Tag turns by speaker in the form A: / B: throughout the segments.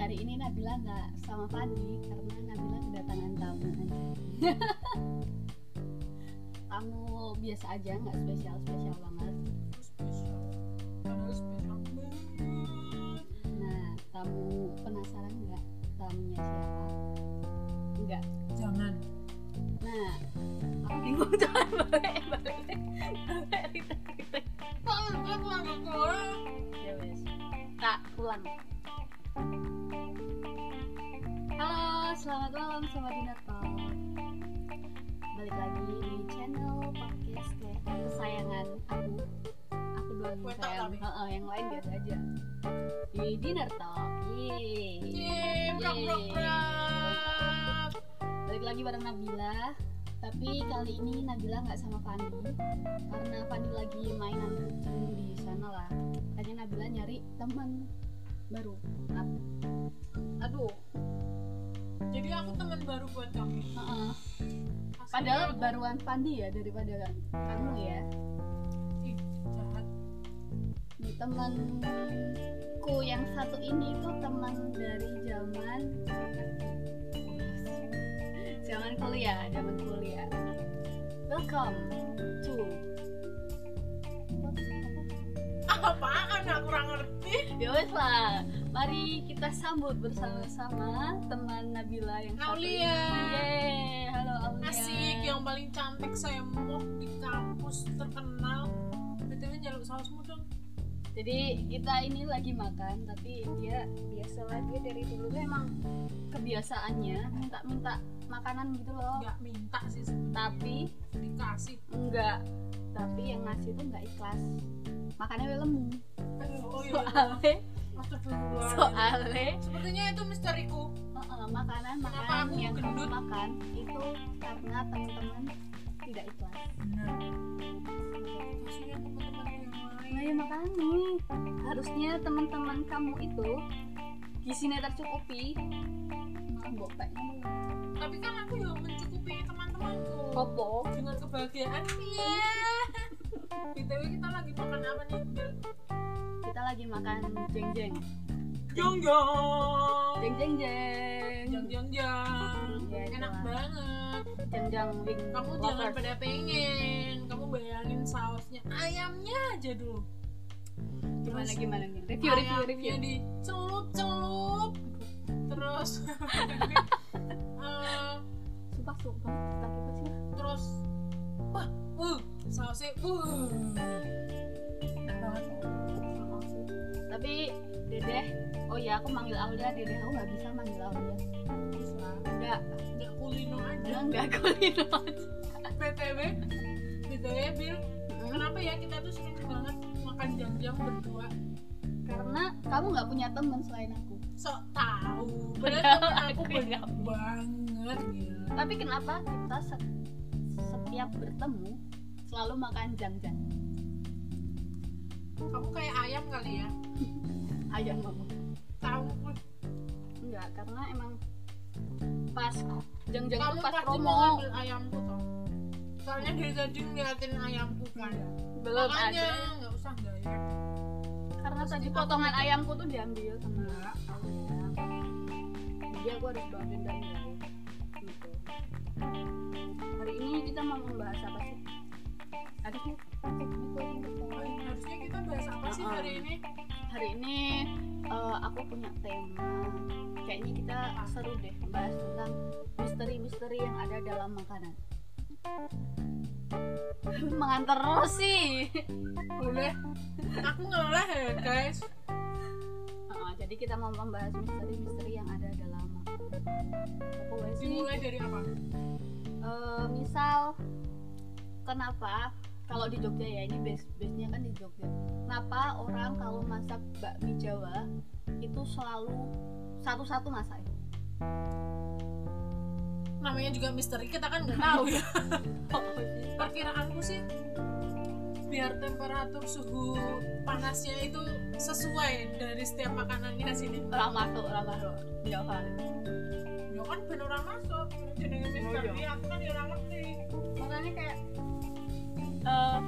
A: hari ini Nabila nggak sama Fadi karena Nabila kedatangan tamu aja. tamu biasa aja nggak spesial spesial banget
B: spesial padahal spesial banget
A: nah tamu penasaran nggak tamunya siapa nggak
B: jangan
A: nah aku bingung jangan balik balik balik balik
B: kalau gue nggak orang
A: ya wes tak ulang halo selamat malam sobat Dinator balik lagi di channel podcast kesayangan kesayangan aku aku doang
B: Gue
A: yang
B: tak
A: sayang
B: tapi.
A: Heeh, yang lain biasa aja di dinner talk yeay
B: yeay brak brak brak
A: balik lagi bareng Nabila tapi kali ini Nabila nggak sama Fandi karena Fandi lagi mainan kucing di sana lah makanya Nabila nyari teman baru Nah, aduh
B: jadi aku teman baru buat kamu
A: heeh.
B: Asli.
A: padahal baruan Fandi ya daripada kamu ya
B: Ih, jahat
A: Ini temanku yang satu ini itu teman dari zaman zaman kuliah zaman kuliah welcome to
B: apaan aku kurang ngerti
A: ya wes lah mari kita sambut bersama-sama teman Nabila yang satu ini.
B: Aulia.
A: Yeay, halo Aulia
B: asik ya yang paling cantik saya mau di kampus terkenal btw jaluk sausmu dong
A: jadi kita ini lagi makan tapi dia biasa lah dia dari dulu tuh emang kebiasaannya minta-minta makanan gitu loh
B: nggak minta sih sebenarnya
A: tapi
B: dikasih
A: enggak tapi yang ngasih tuh enggak ikhlas makannya welemu
B: Aduh, oh iya
A: soale
B: Astagfirullahaladzim.
A: soale
B: sepertinya itu misteriku
A: uh-uh, makanan
B: Kenapa
A: makanan
B: aku
A: yang kamu
B: gendut?
A: makan itu karena teman-teman tidak ikhlas
B: benar maksudnya teman-teman yang
A: Nah
B: lain
A: ya makanya harusnya teman-teman kamu itu gizinya tercukupi malah bopek
B: tapi kan aku juga mencukupi teman-temanku
A: opo
B: dengan kebahagiaan iya btw kita lagi makan apa nih Bel?
A: kita lagi makan jeng jeng
B: jong jong
A: jeng jeng jeng
B: jong jong jong
A: Ya, itu
B: enak
A: lah.
B: banget
A: jeng jeng wing
B: kamu jangan
A: lover.
B: pada pengen kamu bayangin sausnya ayamnya aja dulu
A: gimana
B: Terus
A: gimana nih review review
B: ayamnya
A: review
B: dicelup celup terus eh,
A: sumpah sumpah tak apa sih
B: terus wah uh sausnya uh enak banget Iya,
A: Emang sih. tapi dedeh oh ya aku manggil Aulia dedeh aku nggak bisa manggil Aulia
B: Terus lah,
A: enggak
B: nggak kulino aja
A: enggak kulino
B: btw btw Gitu ya, bil kenapa ya kita tuh sering banget makan jam-jam berdua
A: karena kamu nggak punya teman selain aku
B: sok tahu padahal
A: Padahal
B: temen aku
A: aku
B: banyak
A: nggak
B: banget gila
A: Tapi kenapa kita se- setiap bertemu selalu makan jang-jang?
B: kamu kayak ayam kali ya
A: Ayam kamu?
B: tahu
A: Enggak, karena emang pas jang-jang
B: kamu
A: tuh pas
B: pasti mau
A: promo.
B: ngambil ayamku toh soalnya dari tadi ngeliatin ayamku kan
A: Belum
B: makanya
A: ada.
B: nggak usah nggak ya
A: Karena tadi
B: kita
A: potongan
B: makan.
A: ayamku tuh diambil sama
B: Nggak.
A: ayam. Jadi aku harus bawa dendam guys. Gitu. Hari ini kita mau membahas apa sih? Ada sih? Eh, gitu, gitu.
B: Oh, iya, harusnya kita bahas apa sih
A: Uh-uh.
B: hari ini
A: hari ini eh, aku punya tema kayaknya kita seru deh bahas tentang misteri-misteri yang ada dalam makanan mengantar Rosi
B: boleh aku ngelah ya guys
A: Heeh, jadi kita mau membahas misteri-misteri yang ada dalam makanan apa wae sih
B: dimulai dari apa
A: Eh, misal kenapa kalau di Jogja ya ini base base nya kan di Jogja kenapa orang kalau masak bakmi Jawa itu selalu satu-satu masak ya?
B: namanya juga misteri kita kan nggak tahu ya
A: Oh, sih.
B: perkiraanku sih biar temperatur suhu panasnya itu sesuai dari setiap makanannya sini
A: orang masuk orang masuk ya kan
B: ya kan bener orang masuk jenenge misteri
A: Oh, iya.
B: aku kan ya orang ngerti
A: makanya kayak eh,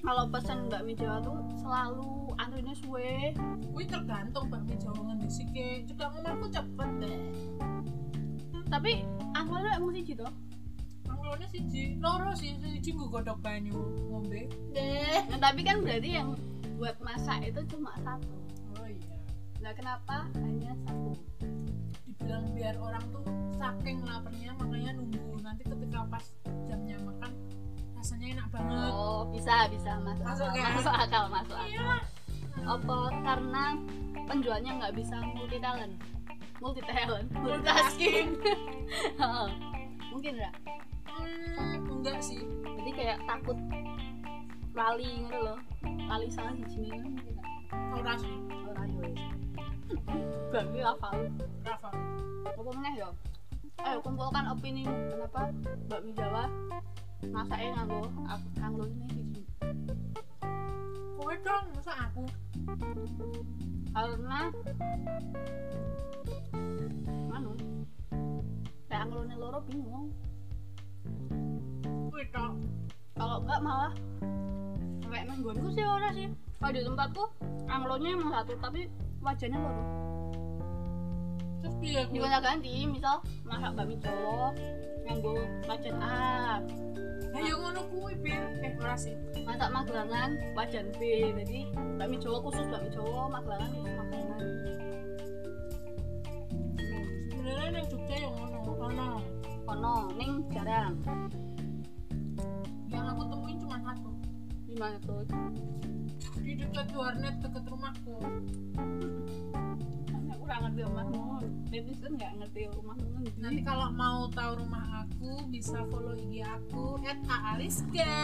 A: kalau pesan bakmi jawa tuh selalu antrine suwe
B: Kuwi tergantung bakmi jawangan di sike. Cedak omahku cepet deh.
A: tapi awalnya emang siji to
B: Anglone siji, loro sih siji nggo godhok banyu ngombe. Deh.
A: nah, tapi kan berarti yang buat masak itu cuma satu
B: Oh iya.
A: nah kenapa hanya satu
B: Dibilang biar orang tuh saking laparnya makanya nunggu nanti ketika pas jamnya makan rasanya enak banget.
A: oh bisa bisa masuk
B: Masuk
A: akal,
B: ya?
A: masuk akal masuk akal
B: Iya.
A: apa karena penjualnya nggak bisa multi talent multi talent multitasking mungkin ya
B: Hmm, enggak sih.
A: jadi kayak takut lali gitu loh lali salah di sini mungkin nggak?
B: Ora sih,
A: orang yo bagi hafal
B: Rafa.
A: apa meneh yo ayo kumpulkan opini kenapa bakmi jawa masaknya nganggo ak- nganggo ini siji.
B: Kowe dong, masa aku?
A: karena manu Anu, kayak ngelone loro bingung
B: Kowe dong.
A: kalau enggak malah kayak menggonku sih ora sih kalau di tempatku anglonya emang satu tapi wajahnya loro
B: Terus piye kowe?
A: digonta ganti misal masak bakmi jawa nganggo wajan A
B: Ayo ya ngono kuwi bir. Eh ora sih.
A: masak magelangan wajan B jadi bakmi jawa khusus bakmi jawa magelangan khusus magelangan
B: Sebenarnya nang Jogja yang ngono, ono.
A: kono ning jarang
B: Yang aku temuin cuma satu.
A: gimana tuh
B: Di dekat warnet dekat rumahku.
A: aku kurang ngerti rumahmu netizen nggak ngerti rumahmu
B: Nanti kalau mau tahu rumah aku bisa follow IG aku @aaliska.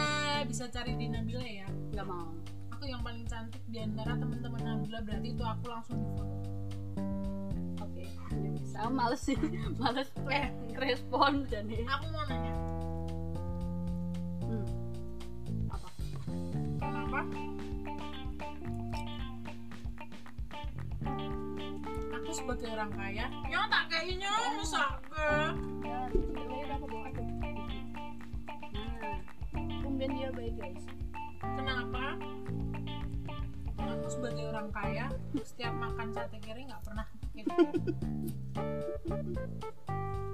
B: Bisa cari di Nabila ya.
A: nggak mau
B: Aku yang paling cantik di antara teman-teman Nabila berarti itu aku langsung di follow.
A: oke ya wis. aku males sih males
B: Eh,
A: respon jadi
B: aku mau nanya,
A: hmm. apa
B: kenapa? Aku sebagai orang kaya, ya tak kayak nyong ke.
A: ya tidaknya udah aku bawa aja nah kemudian dia baik guys
B: Kenapa? Aku sebagai orang kaya, setiap makan sate kere nggak pernah kepikiran.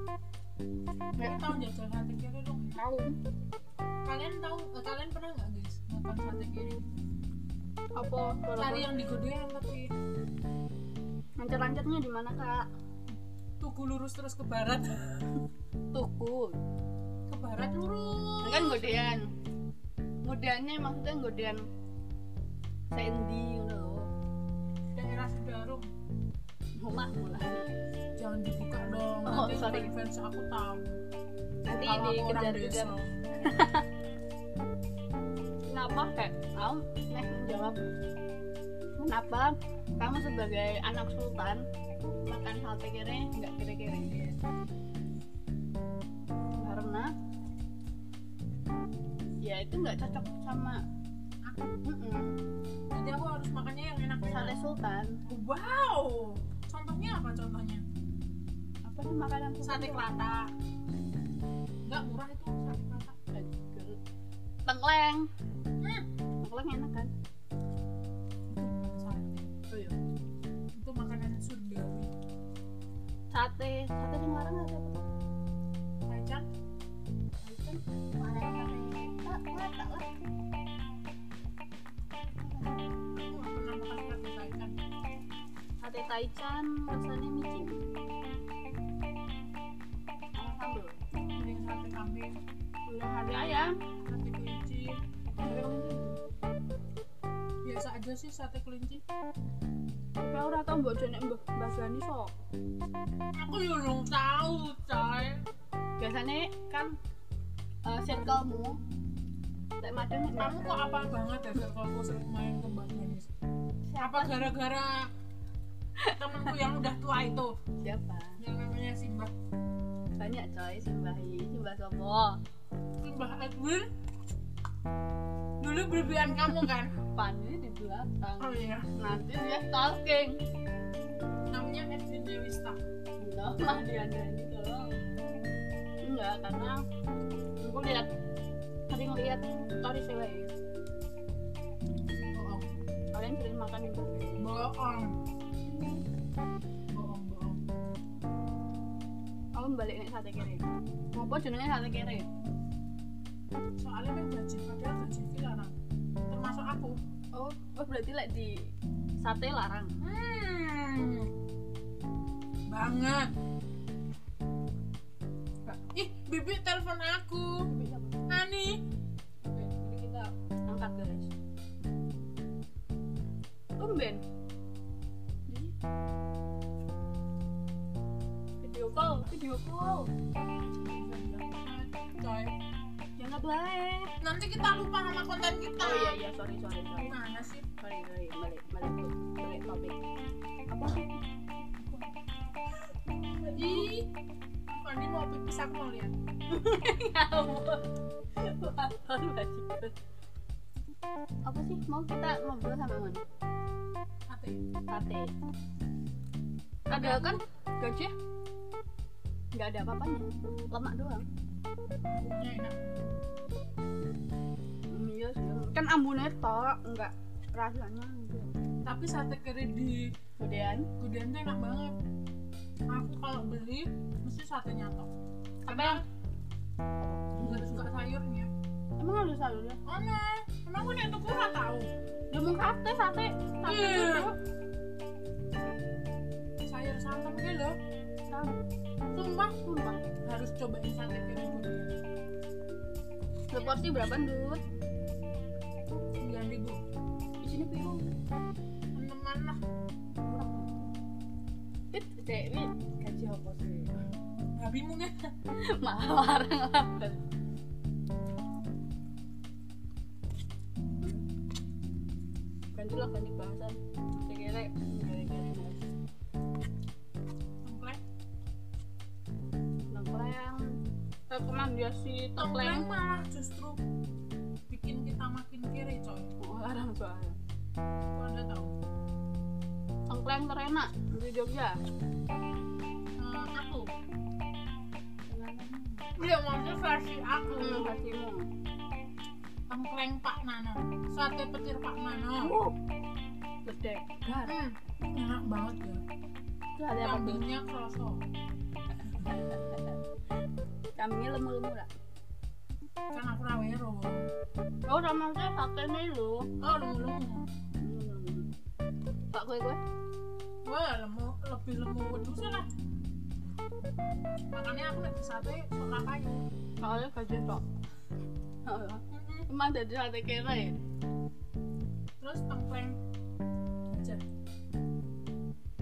B: Kalian tahu jajal sate kere dong?
A: tahu
B: Kalian tahu? eh, kalian pernah nggak guys makan sate kere?
A: apa
B: Cari yang digodoyan tapi
A: lancar-lancarnya di mana kak
B: tugu lurus terus ke barat,
A: tuku
B: ke barat lurus.
A: kan godean godeannya maksudnya godean Sandy gitu loh
B: Daerah Sudarung.
A: rumah mulai
B: Jangan dibuka dong.
A: Oh,
B: nanti
A: sorry.
B: fans aku tahu.
A: nanti
B: Kalau aku orang
A: dikejar-kejar
B: desa.
A: kenapa kayak kamu nih menjawab kenapa kamu sebagai anak sultan makan sate kere nggak kere-kere karena ya itu nggak cocok sama
B: Aku.
A: Mm-mm.
B: Jadi aku harus makannya yang enak-enak.
A: sate sultan
B: Wow, contohnya apa contohnya?
A: apa sih makanan sultan?
B: Sate kelata. Enggak murah itu sate kelata.
A: tengkleng
B: Hmm.
A: tengkleng enak kan
B: Itu bukan sate.
A: oh iya
B: Itu makanan surgawi.
A: sate sate sing larang apa tuh?
B: Kacang.
A: Kan larang sate tak tak lah
B: Aku nggak pernah makan sate kacang.
A: sate taichan rasanya micin sama sambel
B: Mending sate kambing,
A: udah Iya, sate ayam
B: sate kelinci.
A: sate kelinci.
B: Biasa aja sih sate kelinci.
A: tapi aku ora tau mbok jenek mbok Mbak Jani sok
B: Aku ya belum tahu, coy.
A: biasanya kan eh, circle-mu Lek madang
B: Kamu kok apa banget ya circleku sering main ke Mbak Ganis? Apa
A: siapa
B: gara-gara temanku yang udah tua itu
A: siapa
B: yang namanya Simbah
A: banyak coy simbahi simbah sopo
B: Simbah Edwin dulu berlebihan kamu kan
A: Pani di belakang
B: oh iya
A: nanti dia stalking
B: namanya Edwin Dewista
A: enggak lah dia ada ini tolong enggak karena aku lihat sering lihat story cewek
B: bohong
A: oh kalian sering makan di Burger King?
B: bohong bohong bohong
A: Aku balik nih sate kere. Apa jenengnya sate kere?
B: soalnya kan gaji padahal gaji itu larang termasuk aku
A: Oh, oh berarti like di sate larang. Hmm.
B: banget ih bibi telepon aku Ani
A: Jadi kita angkat guys. Tumben. Jadi, Video call, video call.
B: coy
A: Jangan baik.
B: nanti kita lupa sama konten kita
A: Oh iya iya sorry sorry sorry
B: gimana sih
A: sorry sorry balik balik balik topik. Apa?
B: ih Ani mau pipis aku mau lihat
A: Ya ampun. Batal bajikan. Apa sih mau kita ngobrol sama mana?
B: Ate
A: sate ada kan gajah nggak ada apa-apanya lemak doang
B: bumbunya enak
A: iya sih kan ambune tok nggak rasanya enggak
B: tapi sate kere di
A: kemudian
B: Gudian tuh enak banget aku kalau beli mesti sate nyatok
A: apa yang
B: nggak suka sayurnya
A: emang ada sayurnya
B: oh nah emang gue nek tuku nggak tahu
A: ya mau sate sate sate
B: Iya.
A: itu
B: sayur santan gitu loh
A: Tahu.
B: sumpah
A: Sumpah.
B: harus cobain sate kere Gudian
A: seporsi berapa dud
B: sembilan ribu
A: di sini biru
B: teman lah
A: murah it dewi gaji apa sih
B: nggak bingung ya
A: mahal orang lapar gantilah ganti bahasan kira-kira gara-gara mas
B: tengkleng
A: nongkrong rekomendasi
B: tengkleng
A: topeng
B: malah justru bikin kita makin kiri coy
A: orang soalnya
B: Gua udah tahu
A: topeng terenak di Jogja
B: Eh, aku iya maksudnya versi aku
A: hmm, hatimu
B: tengkleng Pak Nano sate petir Pak Nano
A: uh gede gar
B: hmm. enak banget ya
A: itu ada apa tuh
B: kambingnya kroso
A: kambingnya lemu-lemu lah
B: kan aku rawero
A: oh sama saya sate nih lu
B: oh lemu lemu
A: pak kue kue
B: wah lemu lebih lemu wedus lah makanya aku lagi sate suka kayu
A: soalnya gaji tok Oh,
B: Mm-mm.
A: emang dari sate kere ya
B: terus tengkleng aja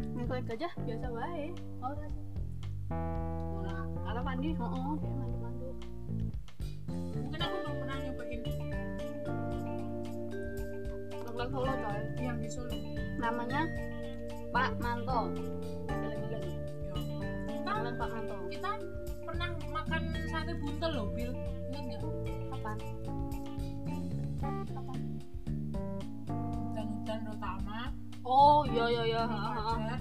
A: Ngeklek aja biasa wae. Oh, rasa. Ora, arep mandi, heeh, dia mandu-mandu.
B: mungkin aku belum pernah nyobain
A: Ngeklek solo coy.
B: yang di Solo
A: Namanya Pak Manto. Gila-gila.
B: ya.
A: Namanya Pak Manto.
B: kita pernah makan sate buntel loh Bill ingat nggak
A: Kapan? Kapan?
B: dan hutan utama
A: Oh, iya iya iya. ha, ha, ha.
B: aja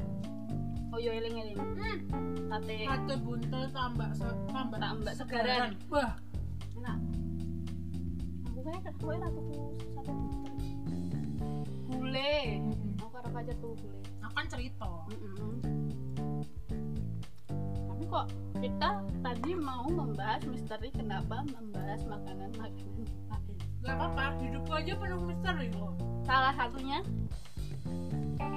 A: Oh, iya eling-eling.
B: Ah, hmm,
A: Sate
B: sate buntel tambah se- tambah
A: Tambah segaran.
B: wah
A: enak. Aku kayak aku kayak aku sate buntel. Gule.
B: Mm-mm.
A: Aku arep aja tuh gule.
B: aku kan cerita
A: Mm-mm. Tapi kok kita tadi mau membahas misteri kenapa membahas makanan-makanan lain?
B: nggak apa-apa hidupku aja penuh misteri loh
A: Salah satunya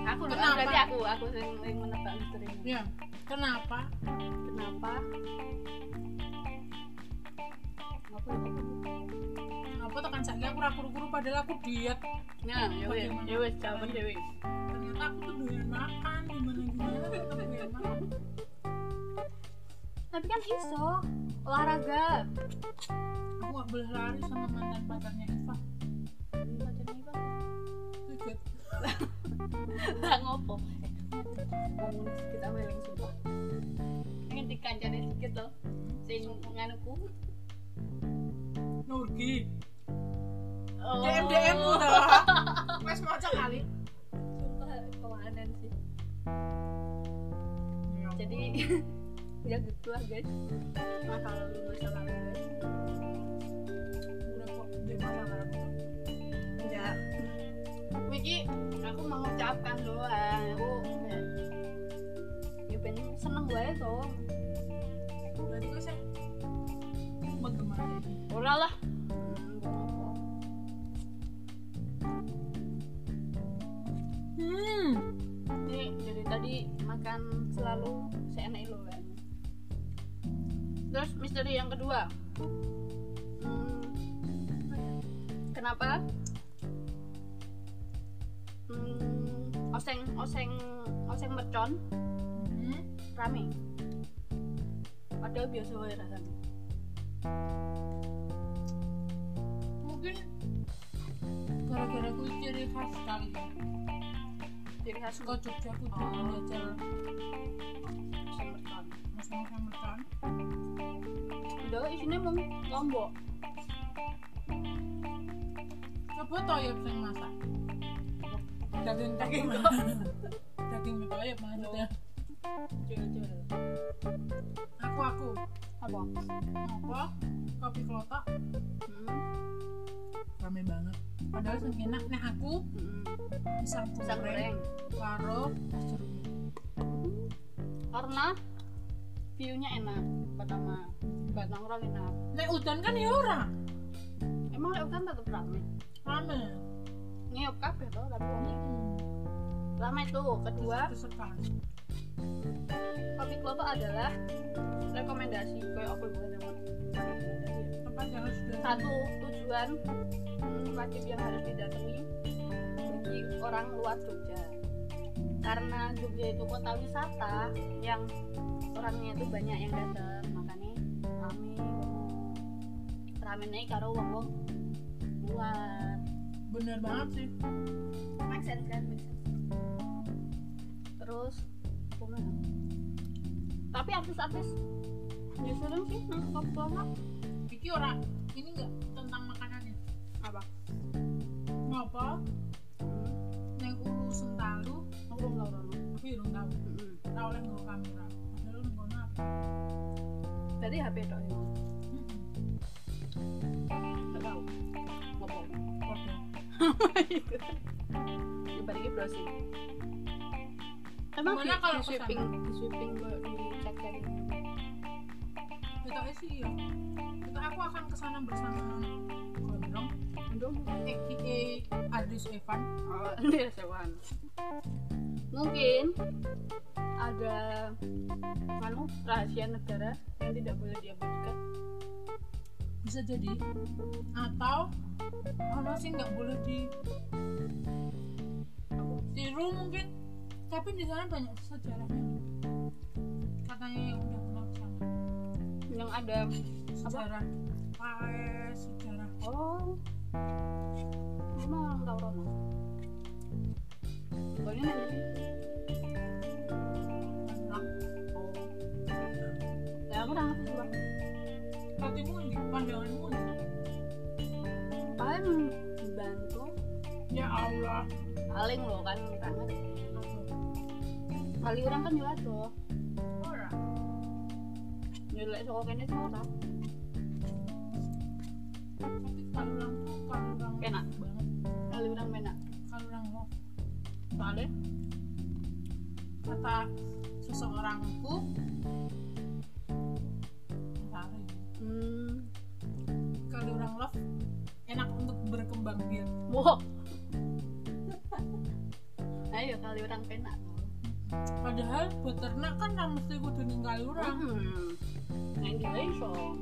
A: aku loh,
B: Kenapa?
A: berarti aku aku sering, sering menebak misteri.
B: ya kenapa
A: Kenapa? Aku
B: kenapa tekan sakit kan aku rakur-kuru padahal aku diet
A: Nah, ya wes, ya wes, jawaban ya wes.
B: ternyata aku tuh doyan makan gimana gimana tetap doyan makan
A: Tapi kan iso olahraga.
B: aku nggak boleh lari sama mantan pacarnya Iva Itu juga
A: Lah ngopo? Eh, Ngomong sedikit aku eling sumpah. Pengen dikancani sedikit loh. Sing nganuku.
B: Nurgi
A: Oh.
B: DM DM mu dah mas mau kali
A: Sumpah, kewanan sih. Jadi ya gitu lah guys. Masalah Nah, lu masalah lu guys.
B: udah kok di masa lalu
A: Wiki memaafkan doang aku kayak ya pengen seneng gue tuh
B: berarti gue sih menggemari
A: ora lah
B: hmm
A: ini dari tadi makan selalu seenak lo kan terus misteri yang kedua Hmm, kenapa Hmm, oseng oseng oseng mercon
B: hmm.
A: rame padahal biasa wae rasanya
B: mungkin gara-gara gue ciri khas kali ya
A: ciri khas
B: suka Jogja aku dulu jajal
A: oseng mercon
B: mas-mas mercon
A: udah isinya mau lombok
B: coba toyib sing masak daging daging daging toyib maksudnya
A: jual-jual
B: aku aku
A: apa
B: apa kopi kelotok
A: hmm.
B: rame banget padahal sing enak nih aku
A: hmm.
B: pisang
A: pisang goreng
B: goreng karo es jeruk
A: karena view-nya enak pertama buat nongkrong enak
B: nek udan kan ya ora
A: emang lewat kan tetap rame
B: rame
A: ngeyop kabeh tuh tapi wongnya rame tuh kedua
B: Terus aku suka.
A: kopi kelotok adalah rekomendasi kayak apa bukan teman rekomendasi
B: tempat yang harus sudah
A: satu tujuan hmm, wajib yang harus didatangi bagi orang luar Jogja karena Jogja itu kota wisata yang orangnya itu banyak yang datang makanya rame rame naik karo wong wong luar
B: bener banget sih
A: make sense kan make sense terus apa mana? tapi artis-artis ya sering sih nang kopi
B: Iki ora ini enggak tentang makanannya
A: apa
B: ngapa
A: hmm,
B: nek ulu sentalu
A: aku nggak tahu
B: aku ya urung tau
A: Mm-mm.
B: ora oleh nggo kamera padahal lu ngono apa
A: berarti HP dong ya?
B: Mm-mm.
A: nggak tahu ngomong
B: Foto.
A: di balik browsing emang
B: Gimana
A: di, di
B: kalau pesan?
A: sweeping di sweeping gue dicek dari
B: Betoknya sih ya Betok aku akan kesana bersama Gondrong
A: Aduh,
B: aka Adris Evan
A: oh, ini sewan mungkin ada anu rahasia negara yang tidak boleh diabadikan
B: bisa jadi atau ono sih nggak boleh di tiru mungkin tapi di sana banyak sejarahnya katanya yang udah pernah kesana
A: yang ada
B: sejarah Paes sejarah
A: oh emang orang tahu Rono pokoknya nanti sih
B: Tangerang
A: oh ya aku udah ngerti sih Bang.
B: hatimu ini pandanganmu ini
A: paling dibantu
B: ya Allah
A: paling lo kan karena kali orang kan jelas loh
B: ora
A: jelek soko kene sih ora
B: tapi kalurang tuh kalurang
A: Enak.
B: banget
A: kali orang menak
B: kalurang lo
A: soalnya
B: kata seseorangku Entahlah ya.
A: hmm
B: kalurang love enak untuk berkembang biak
A: wow ayo kali orang penak loh
B: padahal buat ternak kan ra mesti kudu ning kalurang
A: hmm nang di iso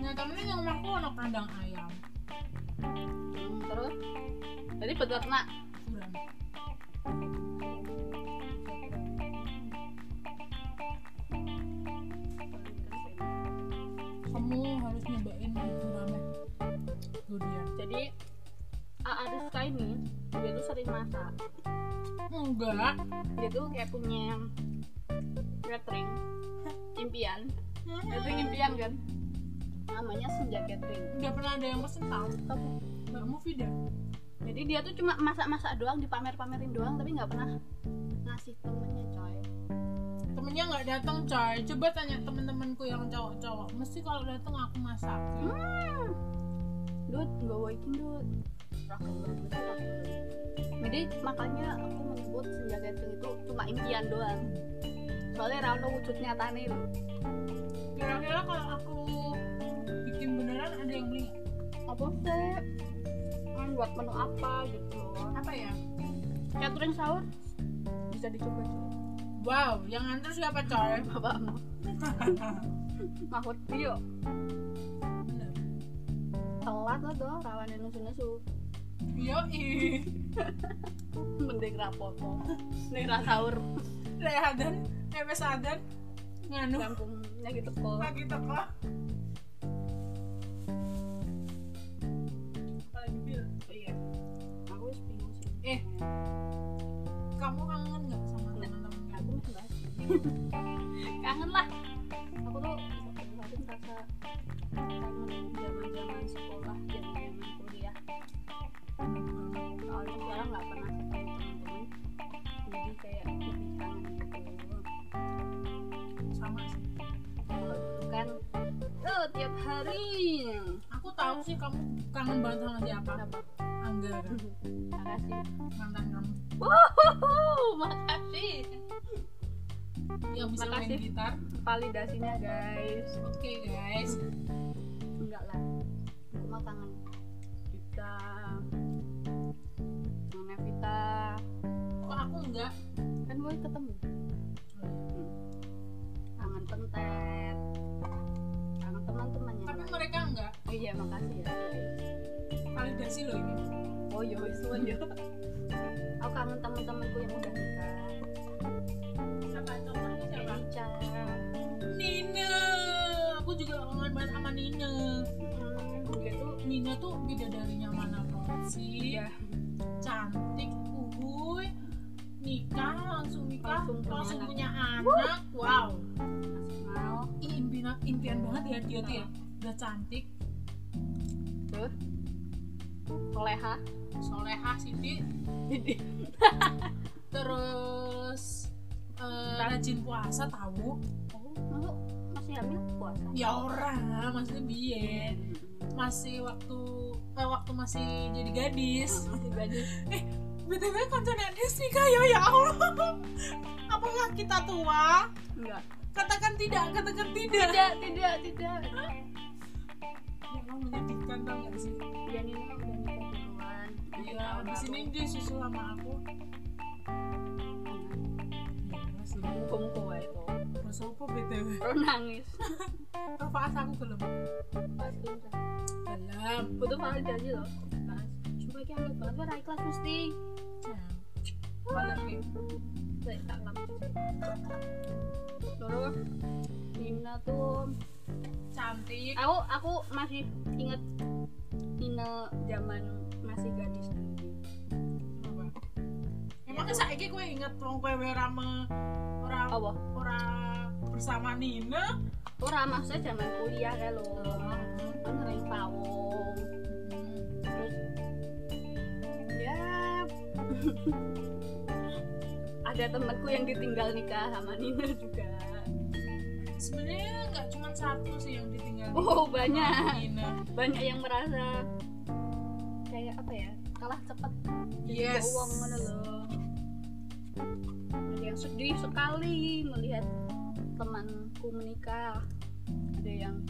B: nah tapi yang omahku ono kandang ayam
A: hmm, terus jadi peternak
B: kurang kamu harus nyobain gurame durian
A: jadi A Ariska ini dia tuh sering masak
B: enggak
A: dia tuh kayak punya catering impian catering impian kan namanya senja catering
B: udah pernah ada yang pesen tau
A: Apa?
B: mbakmu Vida
A: jadi dia tuh cuma masak-masak doang dipamer-pamerin doang tapi nggak pernah ngasih temennya coy
B: temennya nggak datang coy coba tanya temen-temenku yang cowok-cowok
A: Hmm.
B: mesti kalau datang aku masak
A: dud nggak wakin dud seragam bagus seragam bagus. jadi makanya aku menyebut senja gading itu cuma impian doang soalnya rano wujud nyata nih
B: kira-kira kalau aku bikin beneran ada yang beli nggak?
A: apa sih Hmm, buat menu apa gitu
B: apa ya
A: catering sahur bisa dicoba
B: wow yang nganter siapa coy
A: bapakmu mahut bio
B: Bener.
A: telat lo dong rawan nusu nusu
B: yoi
A: mending rapopo nih rasaur
B: Rehadan MS Adan eh, nganu
A: kampungnya gitu kok
B: lagi teko apalagi bil oh, iya
A: aku wis bingung sih
B: Eh. kamu kangen nggak sama
A: Nggak.
B: teman-teman
A: aku masih bahas kangen lah aku tuh masih merasa kangen zaman zaman sekolah dan zaman kuliah Hmm, soalnya sekarang nggak pernah ketemu teman-teman jadi kayak lebih kangen gitu
B: sama sih
A: kalau dulu kan tuh tiap hari
B: aku tahu sih kamu kangen banget sama siapa
A: Siapa?
B: Angga
A: makasih
B: mantan kamu
A: Wuhuhu, makasih
B: yang bisa main
A: Makasih.
B: gitar
A: validasinya guys
B: oke guys
A: enggak lah aku mah kangen Dita Nona Vita
B: kok aku enggak
A: kan boy ketemu Hmm. kangen pentet kangen teman-temannya
B: tapi mereka enggak
A: oh iya makasih ya guys
B: validasi loh ini
A: oh iya wis ya aku kangen teman-temanku yang udah nikah
B: siapa contohnya siapa
A: kayak Ica
B: Nina aku juga kangen banget sama Nina
A: hmm, dia tuh
B: Nina tuh bidadarinya mana banget sih
A: Iya.
B: cantik uhuy nikah langsung nikah
A: Langsung punya
B: langsung
A: anak.
B: punya anak wow
A: mau
B: Ih, impian impian banget ya dia tuh ya udah cantik
A: terus soleha
B: solehah Siti terus eh, rajin puasa tahu
A: oh masuk masih hamil puasa
B: ya orang maksudnya biyen masih waktu eh, waktu masih jadi gadis
A: Oh, masih gadis
B: btw kantor gadis nikah ya ya allah apakah kita tua
A: enggak
B: katakan tidak katakan tidak
A: tidak tidak tidak
B: ya kamu menyedihkan tau gak sih
A: dia ini udah nikah duluan
B: iya di sini dia susul sama aku ya masih
A: muka-muka wae kok
B: terus apa btw
A: Terus nangis
B: pas aku gelem
A: pas kuliah.
B: gelem
A: butuh validasi loh pas cuma kayak anget banget ora ikhlas mesti
B: Malam ini.
A: Lek, tak ngerti. terus Nina tuh
B: cantik
A: aku aku masih inget Nina zaman masih gadis dulu
B: Emangnya saiki kowe inget wong kowe ora me ora
A: apa
B: ora bersama Nina?
A: ora maksudnya zaman kuliah kayak lo kan sering pawong terus ya ada temanku yang ditinggal nikah sama Nina juga
B: Sebenarnya nggak cuma satu sih yang ditinggal.
A: oh banyak
B: Nina.
A: banyak yang merasa kayak apa ya kalah cepet
B: Yes.
A: uang mana loh ada yang sedih sekali melihat temanku menikah ada yang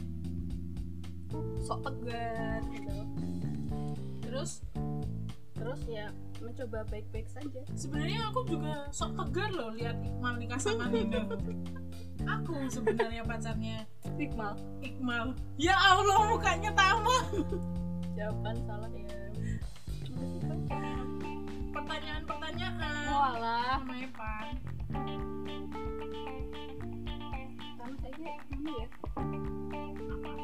A: sok tegar gitu
B: Terus
A: terus ya mencoba baik-baik saja
B: sebenarnya aku juga sok tegar loh lihat Iqmal nikah sama Nina. aku sebenarnya pacarnya
A: Iqbal
B: Iqmal. Ya Allah mukanya tamu.
A: jawaban salah ya
B: Pertanyaan-pertanyaan.
A: walah
B: Sama Evan.
A: karena saya ini ya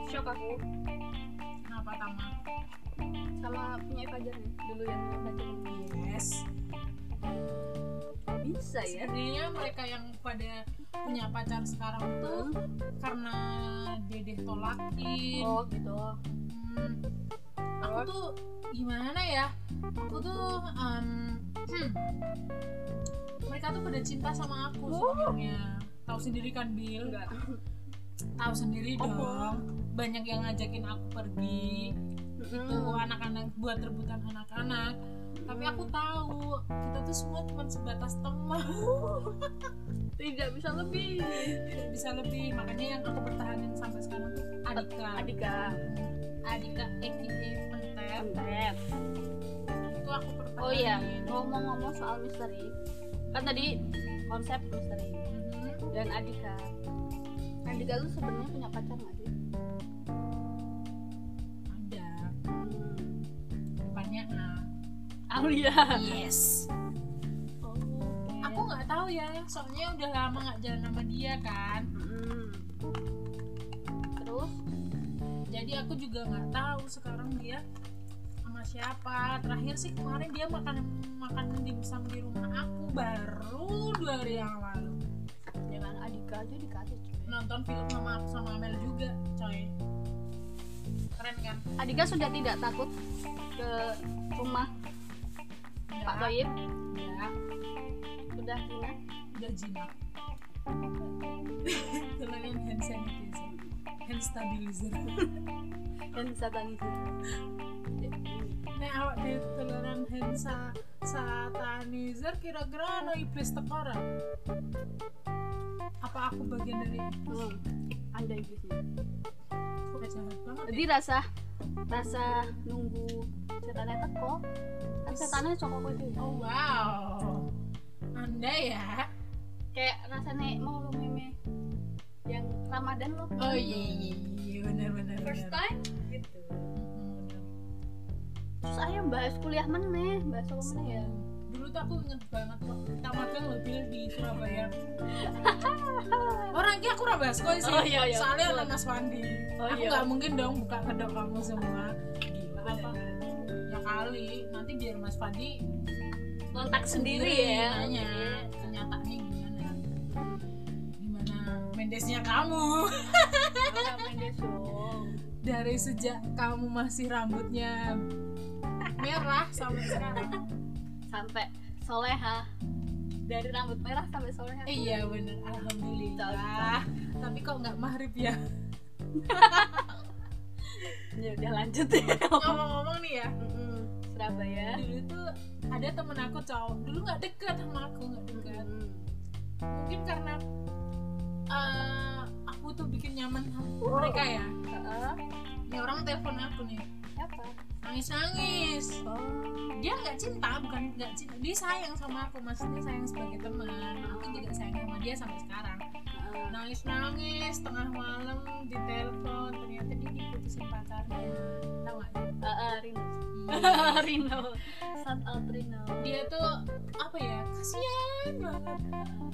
A: shock aku
B: Kenapa Tama?
A: sama punya pacar nih, dulu yang punya pacar
B: Yes.
A: bisa ya
B: sebenarnya mereka yang pada punya pacar sekarang itu karena dedeh
A: Hmm?
B: tolakin
A: oh gitu
B: Hmm, aku
A: terus
B: tuh gimana ya aku tuh um, hmm, mereka tuh pada cinta sama aku
A: Oh.
B: sebenarnya tahu sendiri kan Bill
A: enggak
B: tahu sendiri
A: Apa?
B: dong banyak yang ngajakin aku pergi gitu
A: Hmm.
B: anak-anak buat rebutan anak-anak tapi aku tahu kita tuh semua cuma sebatas teman
A: Oh. tidak bisa lebih
B: tidak bisa lebih makanya yang aku pertahanin sampai sekarang tuh Adika
A: Adika
B: Adika AKA Pentep
A: Tep.
B: itu aku pertahanin
A: oh iya ngomong-ngomong soal misteri kan tadi konsep misteri
B: Mhm.
A: dan Adika Adika lu sebenarnya punya pacar nggak sih
B: ada depannya A
A: Aulia
B: yes
A: oh,
B: aku nggak tahu ya soalnya udah lama nggak jalan sama dia kan
A: Mm. terus
B: jadi aku juga nggak tahu sekarang dia sama siapa terakhir sih kemarin dia makan makan dimsum di rumah aku baru dua hari yang lalu
A: jangan Adika aja dikasih cuy.
B: nonton film sama aku sama Amel juga coy keren kan
A: Adika sudah tidak takut ke rumah Pak
B: Boy
A: Toyib
B: ya
A: sudah jinak
B: udah jinak Tolongin hand sanitizer hand stabilizer
A: dan bisa tangis
B: nek awak di tulanan hand sa satanizer kira-kira ada iblis teko ora? apa aku bagian dari
A: hmm. anda iblisnya
B: Kok jahat banget ya?
A: jadi rasa rasa nunggu setannya teko kan setannya cokok itu
B: ya? oh wow anda ya
A: kayak rasanya mau lu meme yang Ramadan lo
B: oh iya iya iya benar benar
A: first time gitu
B: benar.
A: terus ayo bahas kuliah meneh bahas apa meneh ya
B: dulu tuh aku inget banget waktu kita magang mobil di Surabaya orangnya aku ora bahas koi sih
A: Oh, iya, iya.
B: soalnya ada Mas Wandi
A: Oh,
B: aku
A: iya.
B: nggak mungkin dong buka kedok kamu semua gila apa ya kali nanti biar Mas Wandi
A: kontak ya. Iya,
B: nanya kenyataannya gimana gimana Mendesnya kamu dari sejak kamu masih rambutnya merah sampai sekarang
A: sampai soleha dari rambut merah sampai soleha
B: Iya bener, alhamdulillah. Tapi kok nggak maghrib ya?
A: ya udah lanjut ya
B: Ngomong-ngomong nih ya,
A: Mm-mm. Surabaya
B: dulu tuh ada temen aku cowok, dulu nggak deket sama aku, nggak deket.
A: Mm-mm.
B: Mungkin karena eh, aku tuh bikin nyaman sama mereka ya.
A: Heeh.
B: Ini orang telepon aku nih,
A: siapa
B: nangis-nangis.
A: oh
B: Dia nggak cinta, bukan nggak cinta. Dia sayang sama aku, maksudnya sayang sebagai teman. Aku juga sayang sama dia sampai sekarang.
A: heeh.
B: Nangis-nangis tengah malam di telepon, ternyata dia diputusin pacarnya. Tahu nggak?
A: Heeh, Eh, Rino Hmm. Rino shout out Rino
B: dia tuh apa ya kasihan banget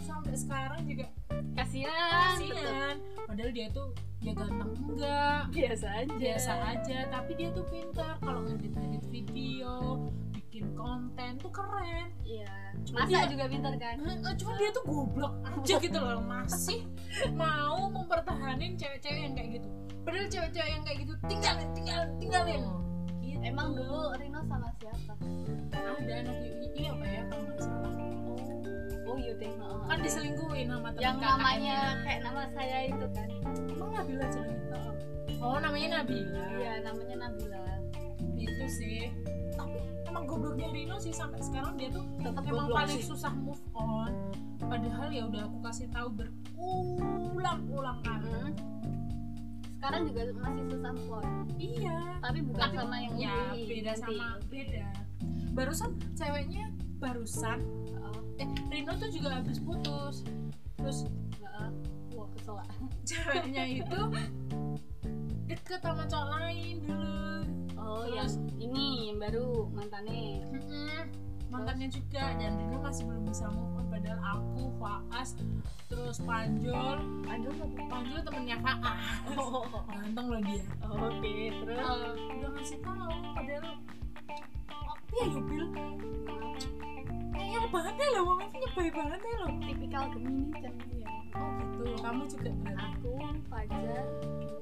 B: sampai sekarang juga
A: kasihan betul.
B: kasihan padahal dia tuh ya ganteng enggak
A: biasa aja
B: biasa aja tapi dia tuh pintar kalau ngedit ngedit video bikin konten tuh keren
A: iya
B: Cuma
A: masa
B: dia-
A: juga pintar kan
B: Eh, cuma dia tuh goblok aja gitu loh masih mau mempertahankan cewek-cewek yang kayak gitu padahal cewek-cewek yang kayak gitu tinggalin tinggalin tinggalin Gitu.
A: emang dulu Rino sama siapa
B: ada anak UI apa ya kalau nggak salah
A: oh iya deh heeh.
B: kan diselingkuhin sama teman
A: yang namanya
B: kakaknya.
A: kayak nama saya itu kan
B: Emang Nabila cerita? Oh namanya Nabila.
A: iya namanya Nabila
B: Itu gitu sih. Tapi emang gobloknya Rino sih sampai sekarang dia tuh
A: tetap
B: emang paling susah move on. Padahal ya udah aku kasih tahu berulang-ulang kan. kali.
A: Hmm. sekarang juga masih susah plot
B: Iya.
A: tapi bukan
B: Tapi-
A: sama yang
B: ya
A: ini,
B: beda
A: inti.
B: sama beda. Barusan ceweknya barusan
A: Heeh,
B: eh Rino tuh juga habis putus. Terus
A: heeh. wah kesel ah.
B: ceweknya itu deket sama cowok lain dulu.
A: oh
B: Terus-
A: yang ini yang baru mantannya
B: Mm-mm. mantannya juga dan dulu masih belum bisa move on padahal aku Faas terus Panjol
A: aduh oke
B: Panjol temennya Faas ganteng loh dia
A: terus
B: Eh, udah ngasih tahu padahal waktu ya Yubil kayaknya banget ya loh wong itu nyebay banget ya loh
A: tipikal Gemini kan ya
B: oh gitu kamu juga berarti
A: aku Fajar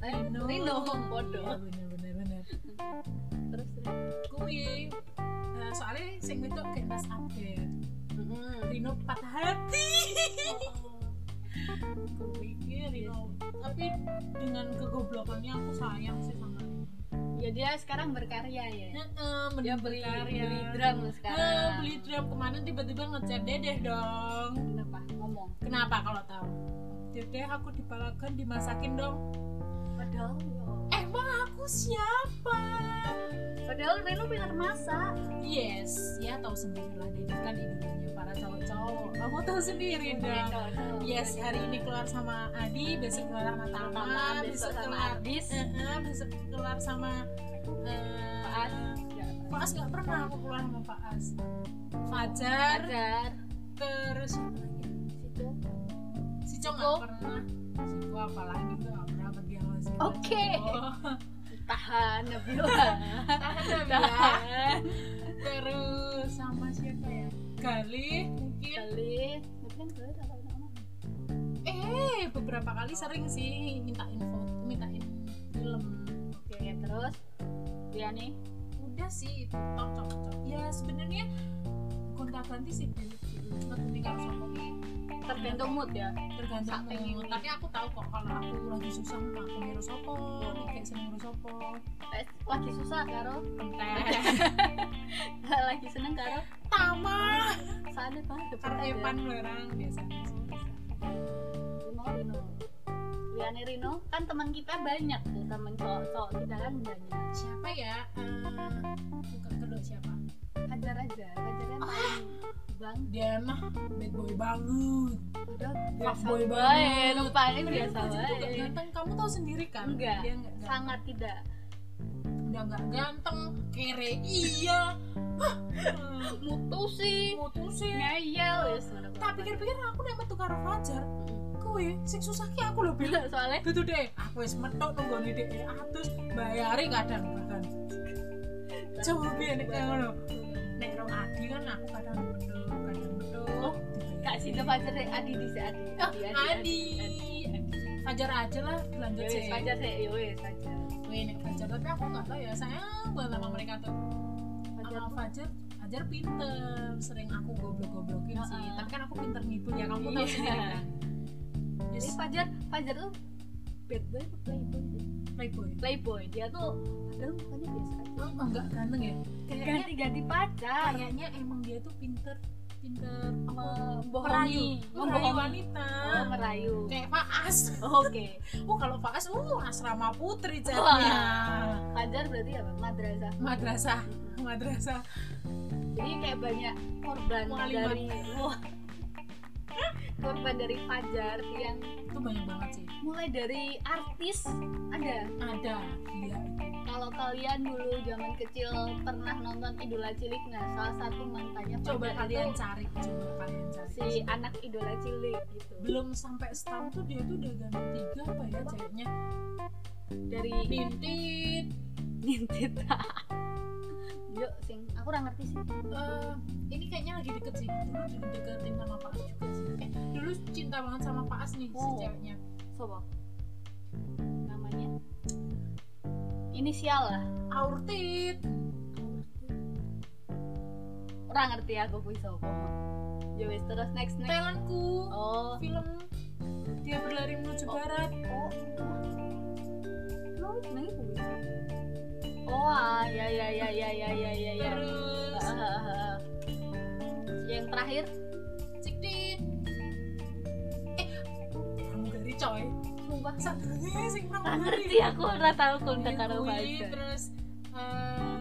A: eh,
B: Rino.
A: Rino
B: Iya,
A: bodoh
B: bener bener bener
A: terus
B: kuwi eh, soalnya sing itu kayak mas update
A: terus
B: Rino patah hati Kupikir, ya. tapi dengan kegoblokannya aku sayang sih sama dia.
A: ya dia sekarang berkarya ya
B: Heeh,
A: dia
B: bener
A: beli
B: berkarya.
A: beli drum
B: Heeh,
A: sekarang
B: beli drum kemarin tiba-tiba ngechat dedeh dong
A: kenapa ngomong
B: kenapa kalau tahu dedeh aku dibalakan dimasakin dong Eh,
A: padahal
B: emang aku siapa
A: padahal Reno pintar masak
B: yes ya tahu sendiri lah dedeh kan idolanya para cowok-cowok kamu tahu sendiri dong
A: Reno, Reno.
B: Yes, hari ini keluar sama Adi, besok keluar sama Tama,
C: Tama,
B: besok
C: besok sama
B: keluar
C: Ardis.
B: Heeh, besok keluar sama eh,
C: Faas.
B: Faas nggak pernah aku keluar sama Faas. Fajar,
A: Ajar.
B: terus siapa lagi?
A: Situ.
B: si
A: Ciko.
B: Cong nggak pernah. Si Ciko apalagi tuh nggak pernah berdialog sama
A: Oke.
B: Ciko.
A: tahan Nabila
B: Tahan dong ya. Terus sama siapa ya? Galih mungkin.
A: kali tapi kan gue udah tau nama
B: Eh, beberapa kali sering sih mintain foto, mintain film.
A: oke ya, terus dia nih
B: udah sih itu tok tok tok ya sebenarnya kontak ganti sih Ben. ketika aku sama dia,
A: tergantung mood ya
B: tergantung
A: Sak pengen.
B: mood. tapi aku tahu kok kalau aku lagi susah mah aku miru sopo kayak seneng miru sopo
A: Pas- Eh, lagi susah karo
B: pentek
A: lagi seneng karo
B: tama
A: saatnya banget ya,
B: karepan orang biasanya sih.
A: Rino Rino Riane Rino kan teman kita banyak tuh teman cowok-cowok kita kan banyak
B: siapa ya Eh, bukan kedua siapa
A: hajar aja hajarnya paling bang
B: dia mah bad boy banget
A: udah
B: Fuckboy banget.
A: banget Lu paling biasa
B: Padahal dia ya. tuh nggak
A: banget
B: ganteng kamu tahu sendiri kan
A: Enggak.
B: dia nggak ganteng.
A: sangat tidak
B: udah nggak ganteng kere iya Hah. hmm,
A: mutusi
B: mutusin
A: ngeyel ya sebenarnya.
B: tak pikir-pikir aku nek metu karo Fajar kowe sing susah ki aku lho Bil
A: Hmm. soalnya
B: dudu deh aku wis metok nunggu nih dek atus bayari kadang bahkan coba biar nek kayak ngono nek rong adi kan aku kadang metu kadang metu
A: Kak Sinta Fajar deh, Adi di si Adi. Ah, Adi,
B: adi adi Fajar aja lah dilanjut
A: Yowes,
B: sih
A: Fajar deh, yowes, Fajar.
B: kowe nek Fajar tapi aku nggak tahu ya sayang banget sama mereka tuh
A: Fajar.
B: sama Fajar Fajar pinter sering aku goblok-goblokin sih
A: Heeh.
B: tapi kan aku pinter nipu ya kamu tahu
A: Iya.
B: sendiri kan
A: Jadi
B: Yes,
A: Fajar, Fajar tuh bad boy atau playboy? sih?
B: playboy
A: Playboy, dia tuh padahal mukanya biasa aja. Iya.
B: emang nggak ganteng ya kayaknya
A: Ganti-ganti pacar.
B: kayaknya emang dia tuh pinter pinter
A: Membohongi,
B: merayu
A: membohongi.
B: wanita
A: Oh, merayu.
B: kayak Faas
A: Oh, Oke,
B: oh kalau Faas uh asrama putri
A: Oh, iya. Wah.
B: jadinya
A: Fajar berarti apa? Madrasah.
B: madrasah madrasah
A: Jadi kayak banyak korban
B: Mualimat.
A: dari Wah. korban dari Fajar yang
B: itu banyak banget sih
A: mulai dari artis ada
B: ada iya
A: Kalau kalian dulu zaman kecil pernah nonton Idola Cilik, nah salah satu mantannya
B: coba
A: Fajar
B: kalian
A: itu
B: cari coba kalian cari
A: si anak Idola Cilik gitu.
B: belum sampai setahun tuh dia tuh udah ganti tiga apa ya ceweknya
A: Dari
B: nintit
A: Nintit. Yuk, sing aku ora ngerti sih.
B: eh, ini kayaknya lagi deket sih dulu udah deketin sama Pak As juga sih eh, dulu cinta banget sama Pak As nih si
A: Oh.
B: ceweknya
A: Sopo? Namanya inisial lah.
B: Aurtit
A: Ora ngerti aku kuwi sopo. Ya wis terus next next.
B: talentku
A: Oh,
B: film dia berlari menuju
A: Oh.
B: barat
A: oh. Lu jenenge kuwi. Oh, ah, ya ya ya ya ya ya ya ya.
B: terus
A: ah, yang terakhir
B: cikdit eh pramugari coy
A: sumpah
B: satunya sing
A: nggak
B: pramugari
A: ngerti aku ora tahu kontak
B: Iya,
A: karo
B: kui,
A: pacar
B: terus eh,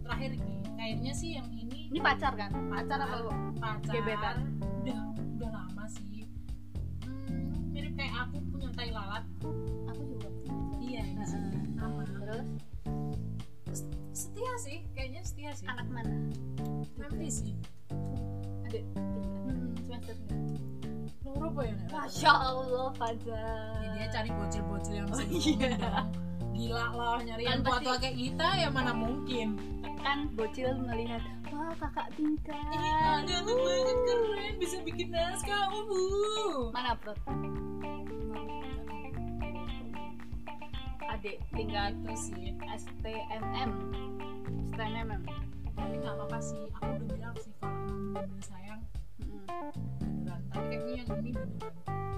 B: terakhir ini kayaknya sih yang ini
A: ini pacar kan pacar apa Bu?
B: pacar
A: Gebetan.
B: udah udah lama sih hmm, mirip kayak aku punya tai lalat
A: aku juga
B: iya ini sih.
A: Heeh.
B: sama
A: terus
B: setia sih kayaknya setia sih
A: anak mana
B: nanti sih
A: adik tiga
B: hmm.
A: semester sembilan.
B: loro apa ya Nek?
A: masya allah pacar
B: Ya, dia cari bocil-bocil yang
A: Oh,
B: sebelum
A: iya.
B: dong. gila loh nyari
A: Kan
B: yang
A: pasti-
B: tua-tua kayak kita ya mana mungkin
A: kan bocil melihat wah kakak
B: ini
A: tingkat
B: ada banget keren bisa bikin naskah oh, bu
A: mana bro adik tingkat
B: itu Gitu sih
A: STMM STMM
B: tapi nggak apa-apa sih aku udah bilang sih kalau emang bener-bener sayang
A: Mm-mm.
B: beneran tapi kayaknya yang ini beneran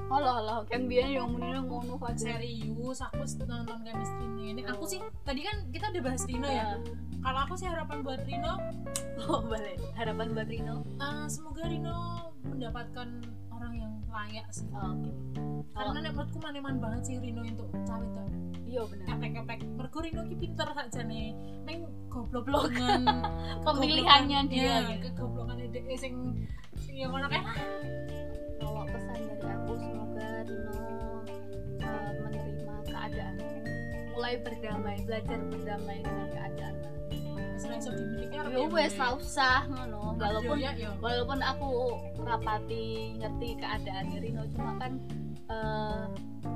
A: oh lah lah kan biasanya yang mendingan ngono aja
B: serius aku nonton chemistry ini aku sih tadi kan kita udah bahas Rino
A: Iya.
B: ya kalau aku sih harapan buat Rino
A: oh balik harapan buat Rino
B: eh, semoga Rino mendapatkan orang yang layak sih
A: Oh, oke Kalau-
B: karena nek menurutku maneman banget sih Rino untuk cawe itu
A: iya bener
B: epek-epek mergo Rino ki pinter saja nih neng goblok banget
A: Hmm, pemilihannya
B: Iya,
A: dia gitu.
B: kegoblokannya dia eh, sing sing ya yang mana kayak
A: kalau pesan dari aku semoga Rino eh, menerima keadaan mulai berdamai belajar berdamai dengan keadaan
B: selain soal dimiliki
A: yo wes lah usah ngono Ya walaupun
B: ya yo
A: walaupun aku rapati ngerti keadaan Rino cuma kan eh,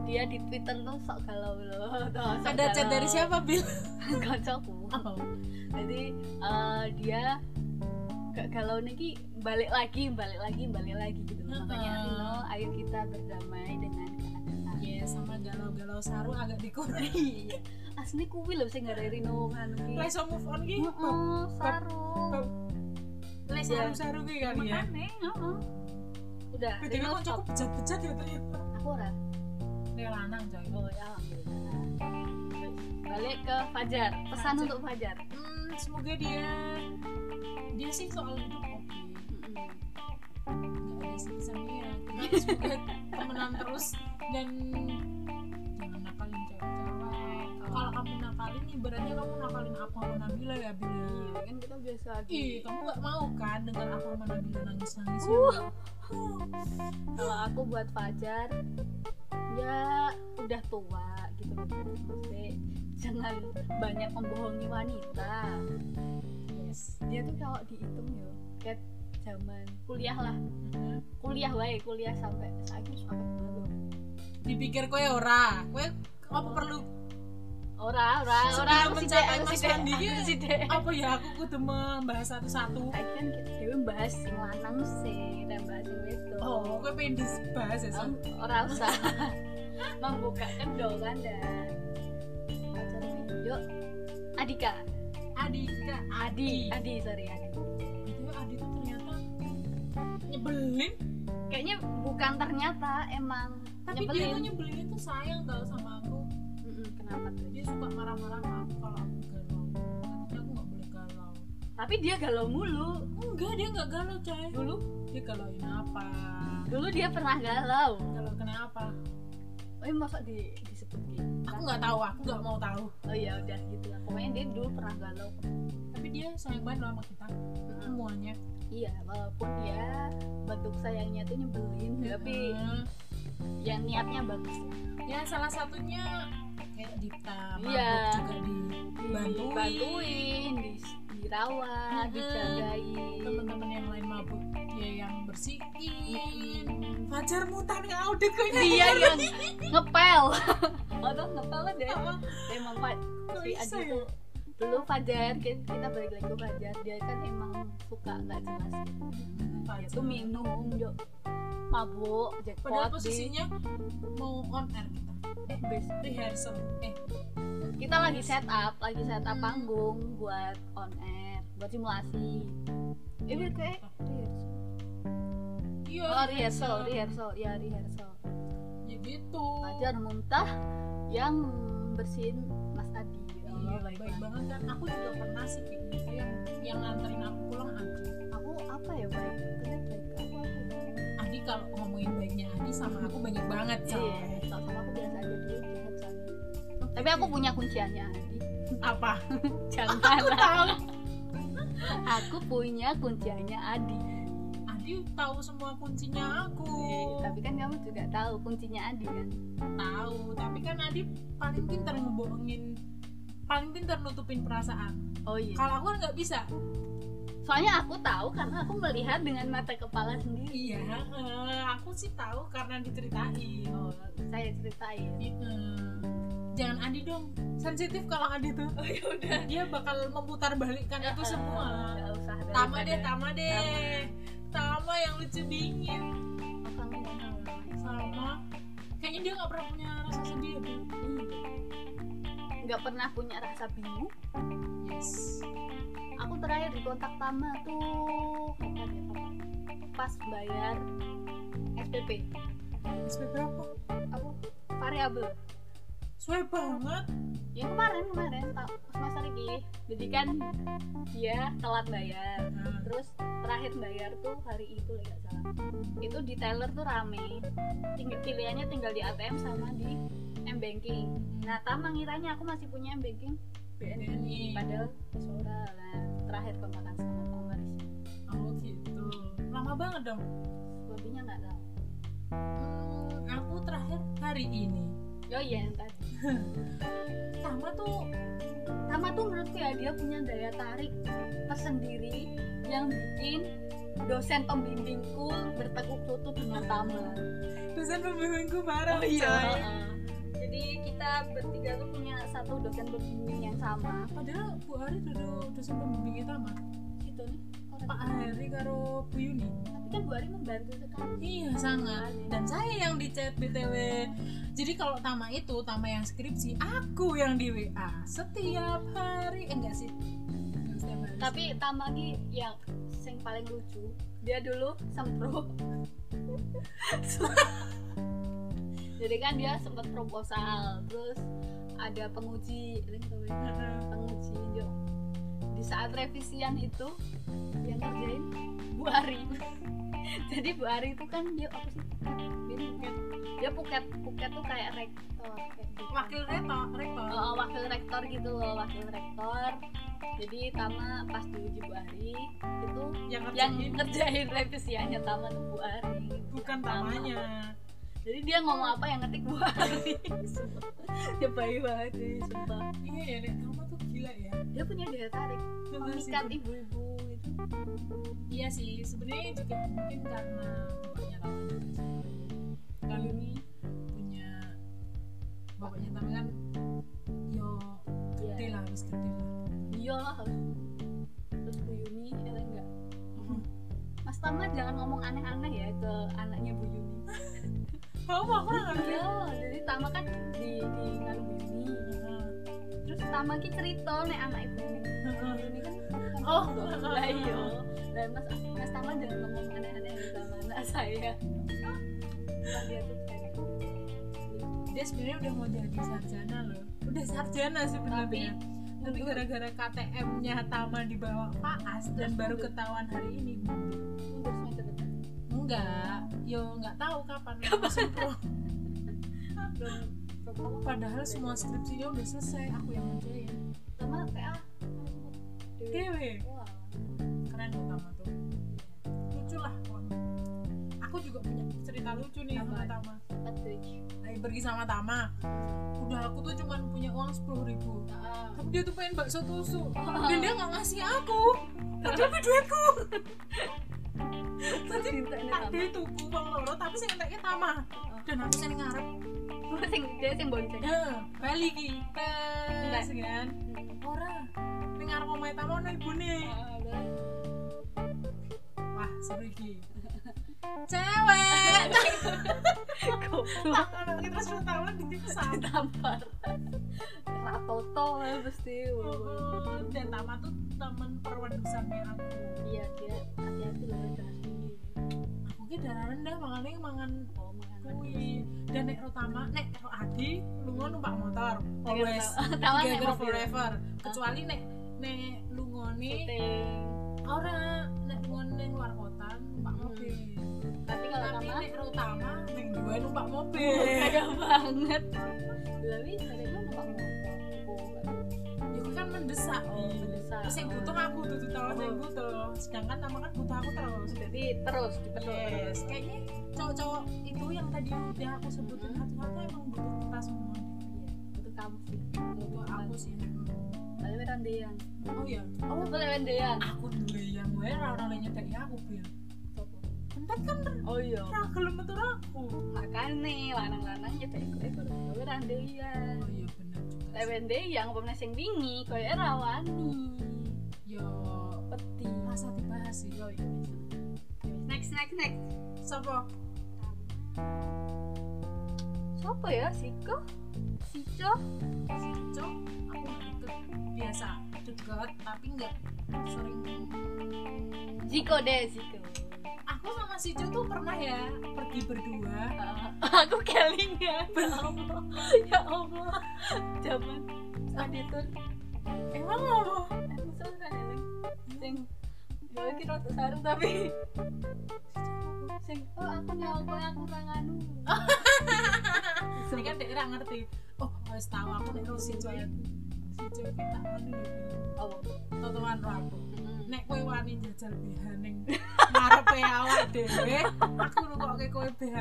A: dia di Twitter tuh sok galau loh Tuh, sok
B: ada chat
A: galau.
B: dari siapa bil
A: kocokku jadi eh, dia gak galau niki balik lagi balik lagi balik lagi gitu loh. makanya
B: Heeh.
A: Rino ayo kita berdamai dengan keadaan
B: ya sama galau-galau saru agak dikurangi
A: iya asli kuwi loh sing gara Rino kan
B: lah iso move on ki
A: Heeh, saru
B: lah saru saru ki kali ya
A: Iya. makanya heeh. udah
B: btw
A: Rino
B: kok
A: stop
B: cukup bejat-bejat ya ternyata
A: aku ora
B: Nek lanang coy
A: Oh ya, alhamdulillah. Balik ke Fajar. Pesan
B: Fajar.
A: untuk Fajar.
B: hmm, semoga dia dia sih soal hidup oke nggak ada sih samira Cuma semoga temenan terus dan jangan nakalin cewek-cewek
A: Oh.
B: kalau kamu nakalin ibaratnya kamu nakalin aku sama Nabila ya Bila
A: kan kita biasa
B: ih kamu nggak mau kan dengar aku sama Nabila nangis-nangis ya?
A: Uh. Kalau aku buat Fajar, ya udah tua gitu kan. Maksudnya, jangan banyak membohongi wanita.
B: yes
A: Dia tuh kalau dihitung yo, kayak zaman kuliah lah. Kuliah wae, kuliah sampai saya suka belum.
B: dipikir kue ora kue apa perlu
A: Ora, ora,
B: Sebelum
A: ora aku sithik,
B: mencapai
A: aku
B: Mas
A: sithik,
B: Wandi,
A: aku
B: ya.
A: sithik.
B: apa ya aku kudu membahas satu-satu
A: Aku kan dewe bahas sing lanang sih, dan bahas sing wedok.
B: oh kue pengen dibahas ya Sam?
A: Em, ora usah membuka kendongan dan pacar tunjuk Adika
B: Adi Kak,
A: Adi Adi sorry Adi
B: itu Adi tuh ternyata nyebelin
A: kayaknya bukan ternyata emang
B: tapi dia tuh nyebelin itu sayang tau sama aku
A: Mm-mm, kenapa tuh
B: dia suka marah-marah sama aku kalau aku galau katanya aku nggak boleh galau
A: tapi dia galau mulu
B: enggak dia nggak galau coy
A: dulu
B: dia galauin apa
A: dulu dia pernah galau
B: galau kenapa
A: eh masa di disebutin
B: aku nggak tahu aku nggak mau tahu
A: oh ya udah gitu lah pokoknya dia dulu pernah galau
B: tapi dia sayang banget loh sama kita
A: Mm-mm.
B: semuanya
A: iya walaupun dia bentuk sayangnya tuh nyebelin tapi
B: Hmm.
A: yang niatnya bagus lah.
B: ya salah satunya kayak Dipta mabuk
A: Iya.
B: juga di Bantuin.
A: dibantuin di- dirawat
B: Mm-mm.
A: dijagain
B: teman-teman yang lain mabuk dia yang bersihin Fajar mutan nggak audit kok ini
A: dia yang ngepel atau ngepel kan deh emang Pak
B: Kok
A: si Adi
B: bisa ya?
A: tuh dulu Fajar kita, kita balik lagi ke Fajar dia kan emang suka nggak jelas gitu. dia
B: Fajar.
A: tuh minum yuk mabuk
B: Padahal
A: jackpot di
B: posisinya mau on air kita
A: eh, bis.
B: rehearsal. Eh,
A: kita lagi set up lagi set up panggung buat on air buat simulasi eh
B: Iya.
A: kayak
B: iya.
A: oh rehearsal rehearsal ya rehearsal
B: Ya gitu.
A: Fajar muntah yang bersihin Mas Adi. Ya
B: Iya,
A: Allah,
B: baik,
A: baik banget.
B: banget kan. Aku juga pernah sih kayak gitu yang yang nganterin aku pulang Adi.
A: Aku apa ya baik? Bener baik. Aku apa ya?
B: Adi kalau ngomongin baiknya Adi sama aku banyak banget sih.
A: Iya, tau sama aku biasa aja dulu jahat soalnya. Tapi aku punya kunciannya Adi.
B: Apa?
A: Iya. Jangan.
B: Aku tahu.
A: aku punya kunciannya Adi.
B: Adi tahu semua kuncinya aku.
A: Tapi kan kamu juga tahu kuncinya Adi kan?
B: Iya, Tahu, tapi kan Adi paling pintar ngebohongin paling pintar nutupin perasaan.
A: Oh iya.
B: Kalau aku kan nggak bisa.
A: Soalnya aku tahu karena aku melihat dengan mata kepala sendiri.
B: Iya, eh, aku sih tahu karena diceritain.
A: Oh, saya ceritain.
B: Eh, jangan Adi dong sensitif kalau Adi tuh
A: Oh, ya
B: dia bakal memutar balikkan itu semua
A: Gak Eh, usah.
B: tama
A: daripada-
B: deh tama deh tama yang lucu dingin
A: Orang yang-
B: sama kayaknya dia nggak pernah punya rasa sedih ya, Bu.
A: nggak pernah punya rasa bingung
B: yes
A: aku terakhir di kontak Tama tuh kapan ya, kapan? pas bayar SPP
B: SP berapa?
A: aku variabel
B: Sesuai banget.
A: ya kemarin kemarin ta- semester ini jadi kan dia telat bayar
B: Nah,
A: terus terakhir bayar tuh hari itu lah nggak salah itu di teller tuh rame Ting- pilihannya tinggal di ATM sama di m banking nah Tama ngiranya aku masih punya m banking
B: BNI.
A: padahal seorang nah, terakhir kontakan sama Tama
B: Oh gitu. Lama banget dong.
A: lebihnya nggak tahu
B: Hmm, aku terakhir hari ini.
A: yo iya yang tadi
B: Tama tuh
A: Tama tuh menurutku ya dia punya daya tarik tersendiri yang bikin dosen pembimbingku bertekuk lutut dengan Tama
B: dosen pembimbingku parah
A: Oh, iya.
B: coy.
A: jadi kita bertiga tuh punya satu dosen pembimbing yang sama
B: Padahal Bu Hari duduk dosen pembimbing Tama.
A: gitu nih orang-
B: Pak Hari karo Bu Yuni.
A: tapi kan Bu Ari membantu sekali
B: Iya sangat. Dan saya yang di chat btw. Jadi kalau Tama itu Tama yang skripsi, aku yang di WA setiap hari. Eh, enggak sih. Enggak Setiap hari. sih.
A: tapi Tama ini yang yang paling lucu dia dulu sempro jadi kan dia sempat proposal terus ada penguji ini tuh, penguji yo. di saat revisian itu yang ngerjain Bu Ari jadi Bu Ari itu kan dia apa sih dia puket dia puket puket tuh kayak rektor kayak gitu.
B: Wakil rektor, rektor.
A: Oh, wakil rektor gitu loh wakil rektor jadi Tama pas diuji Bu Ari itu
B: yang
A: yang
B: ngerjain
A: ngerjain revisiannya Tama tuh Bu Ari
B: bukan Tamanya.
A: jadi dia ngomong apa yang ngetik Bu Ari dia bayi banget sih sumpah
B: Iya ya, Nek. Tama tuh gila ya.
A: dia punya daya tarik
B: Bener sih.
A: memikat ibu-ibu gitu
B: Iya sih, sebenarnya juga mungkin karena bapaknya Tama juga sih. Kali ini punya bapaknya Tama kan yo gede
A: ya
B: lah, harus gede lah.
A: dia lah harus terus Bu Yuni ya enggak Mas Tama jangan ngomong aneh-aneh ya ke anaknya Bu Yuni
B: Kamu aku nggak ngerti.
A: iya jadi Tama kan di di ngaruh Bu Yuni
B: Iya.
A: terus Tama ki cerita nek anak ibu ini ini kan kan
B: Oh.
A: dong. lah iya dan mas mas Tama jangan ngomong aneh-aneh di sama anak saya Wah, dia tuh gitu. keren.
B: Dia sebenarnya udah mau jadi sarjana loh. Udah sarjana sebenarnya.
A: Tapi-
B: Tapi gara-gara KTM-nya Tama dibawa Paas dan baru ketahuan hari ini mundur.
A: mundur semester depan
B: Enggak, yo nggak tahu kapan. Langsung pro.
A: belum belum apa
B: Padahal semua skripsinya udah selesai, aku yang ngerjain.
A: Tama PA Dewi.
B: Dewe.
A: Wah.
B: keren loh Tama tuh lucu lah pokoknya. aku juga punya cerita lucu nih sama
A: Apa?
B: Tama
A: Empat tujuh.
B: lagi pergi sama Tama udah aku tuh cuman punya uang sepuluh ribu
A: Ah.
B: tapi dia tuh pengen bakso tusuk dan dia nggak ngasih aku padahal itu duitku
A: Terus ditanya
B: tak
A: Tama.
B: dia tuku uang loro tapi sing enteknya Tama dan aku sering ngarep
A: Terus yang dia yang bonceng.
B: eh bali ki tes kan
A: Hmm.
B: ora ning ngarep omahe Tama ana ibune
A: Ah, udah.
B: wah seru iki cewek
A: Goblok.
B: tangan kita sudah tahu lah di pesawat
A: Tampar. Ratoto ya pasti. Wah.
B: dan Tama tuh temen perwedusannya aku
A: Iya dia hati-hati loh darah tinggi.
B: aku ki darah rendah makanya mangan
A: Oh makan.
B: kui dan nek Rotama nek Ro Adi lunga numpak motor always
A: Tawa naik Oh,
B: together
A: mobil. Oh.
B: forever kecuali nek nek lungone
A: Syuting.
B: ora nek lungone ning luar kota numpak
A: Hmm.
B: mobil
A: Tapi kalau Oh.
B: tapi
A: sama
B: nek Rotama ning duwe numpak mobil
A: kaya banget. Lalu dari lu numpak motor. Oh, nggak
B: ya kui kan mendesak
A: tahu.
B: Bi.
A: Oh, Mendesak.
B: terus yang butuh aku tuh terus yang butuh sedangkan Tama kan butuh aku terus
A: Jadi terus
B: Yes, kayaknya cowok-cowok itu yang tadi udah aku sebutin
A: Mhm.
B: satu-satu emang butuh kita semua.
A: Iya, Untuk kamu sih.
B: Butuh aku sih.
A: Lalu rendean.
B: Oh ya,
A: Oh, boleh rendean.
B: aku dulu yang gue orang-orang nyedeki aku ya. bil. Entar kan
A: Oh iya.
B: ra gelem metu aku.
A: Makane lanang-lanang ya tak ikut ikut. Lalu rendean.
B: Oh iya bener juga. sih.
A: Lewende yang pemain sing wingi koyo rawani.
B: Yo
A: Peti.
B: masa dibahas sih yo ya.
A: Next next next.
B: Sopo?
A: Siapa ya? Siko? Sico?
B: Cok, aku nggak deket biasa deket tapi nggak sering
A: Ziko deh, Ziko.
B: aku aku sama si Jo tuh pernah ya pergi berdua
A: Ah,
D: aku kelingan ya Allah ya Allah zaman auditor
B: emang lo
D: aku susah
A: kan
D: nih sing ya iki rada saru tapi sing
E: oh aku nggak aku yang kurang anu
A: Ah,
B: ini kan dia nggak ngerti oh harus tahu aku nih terus si Jo ya si Jo kita kan dulu
A: Apa?
B: totoan aku nek kowe wani jajal BH ning ngarepe awak dhewe aku rukokke kowe BH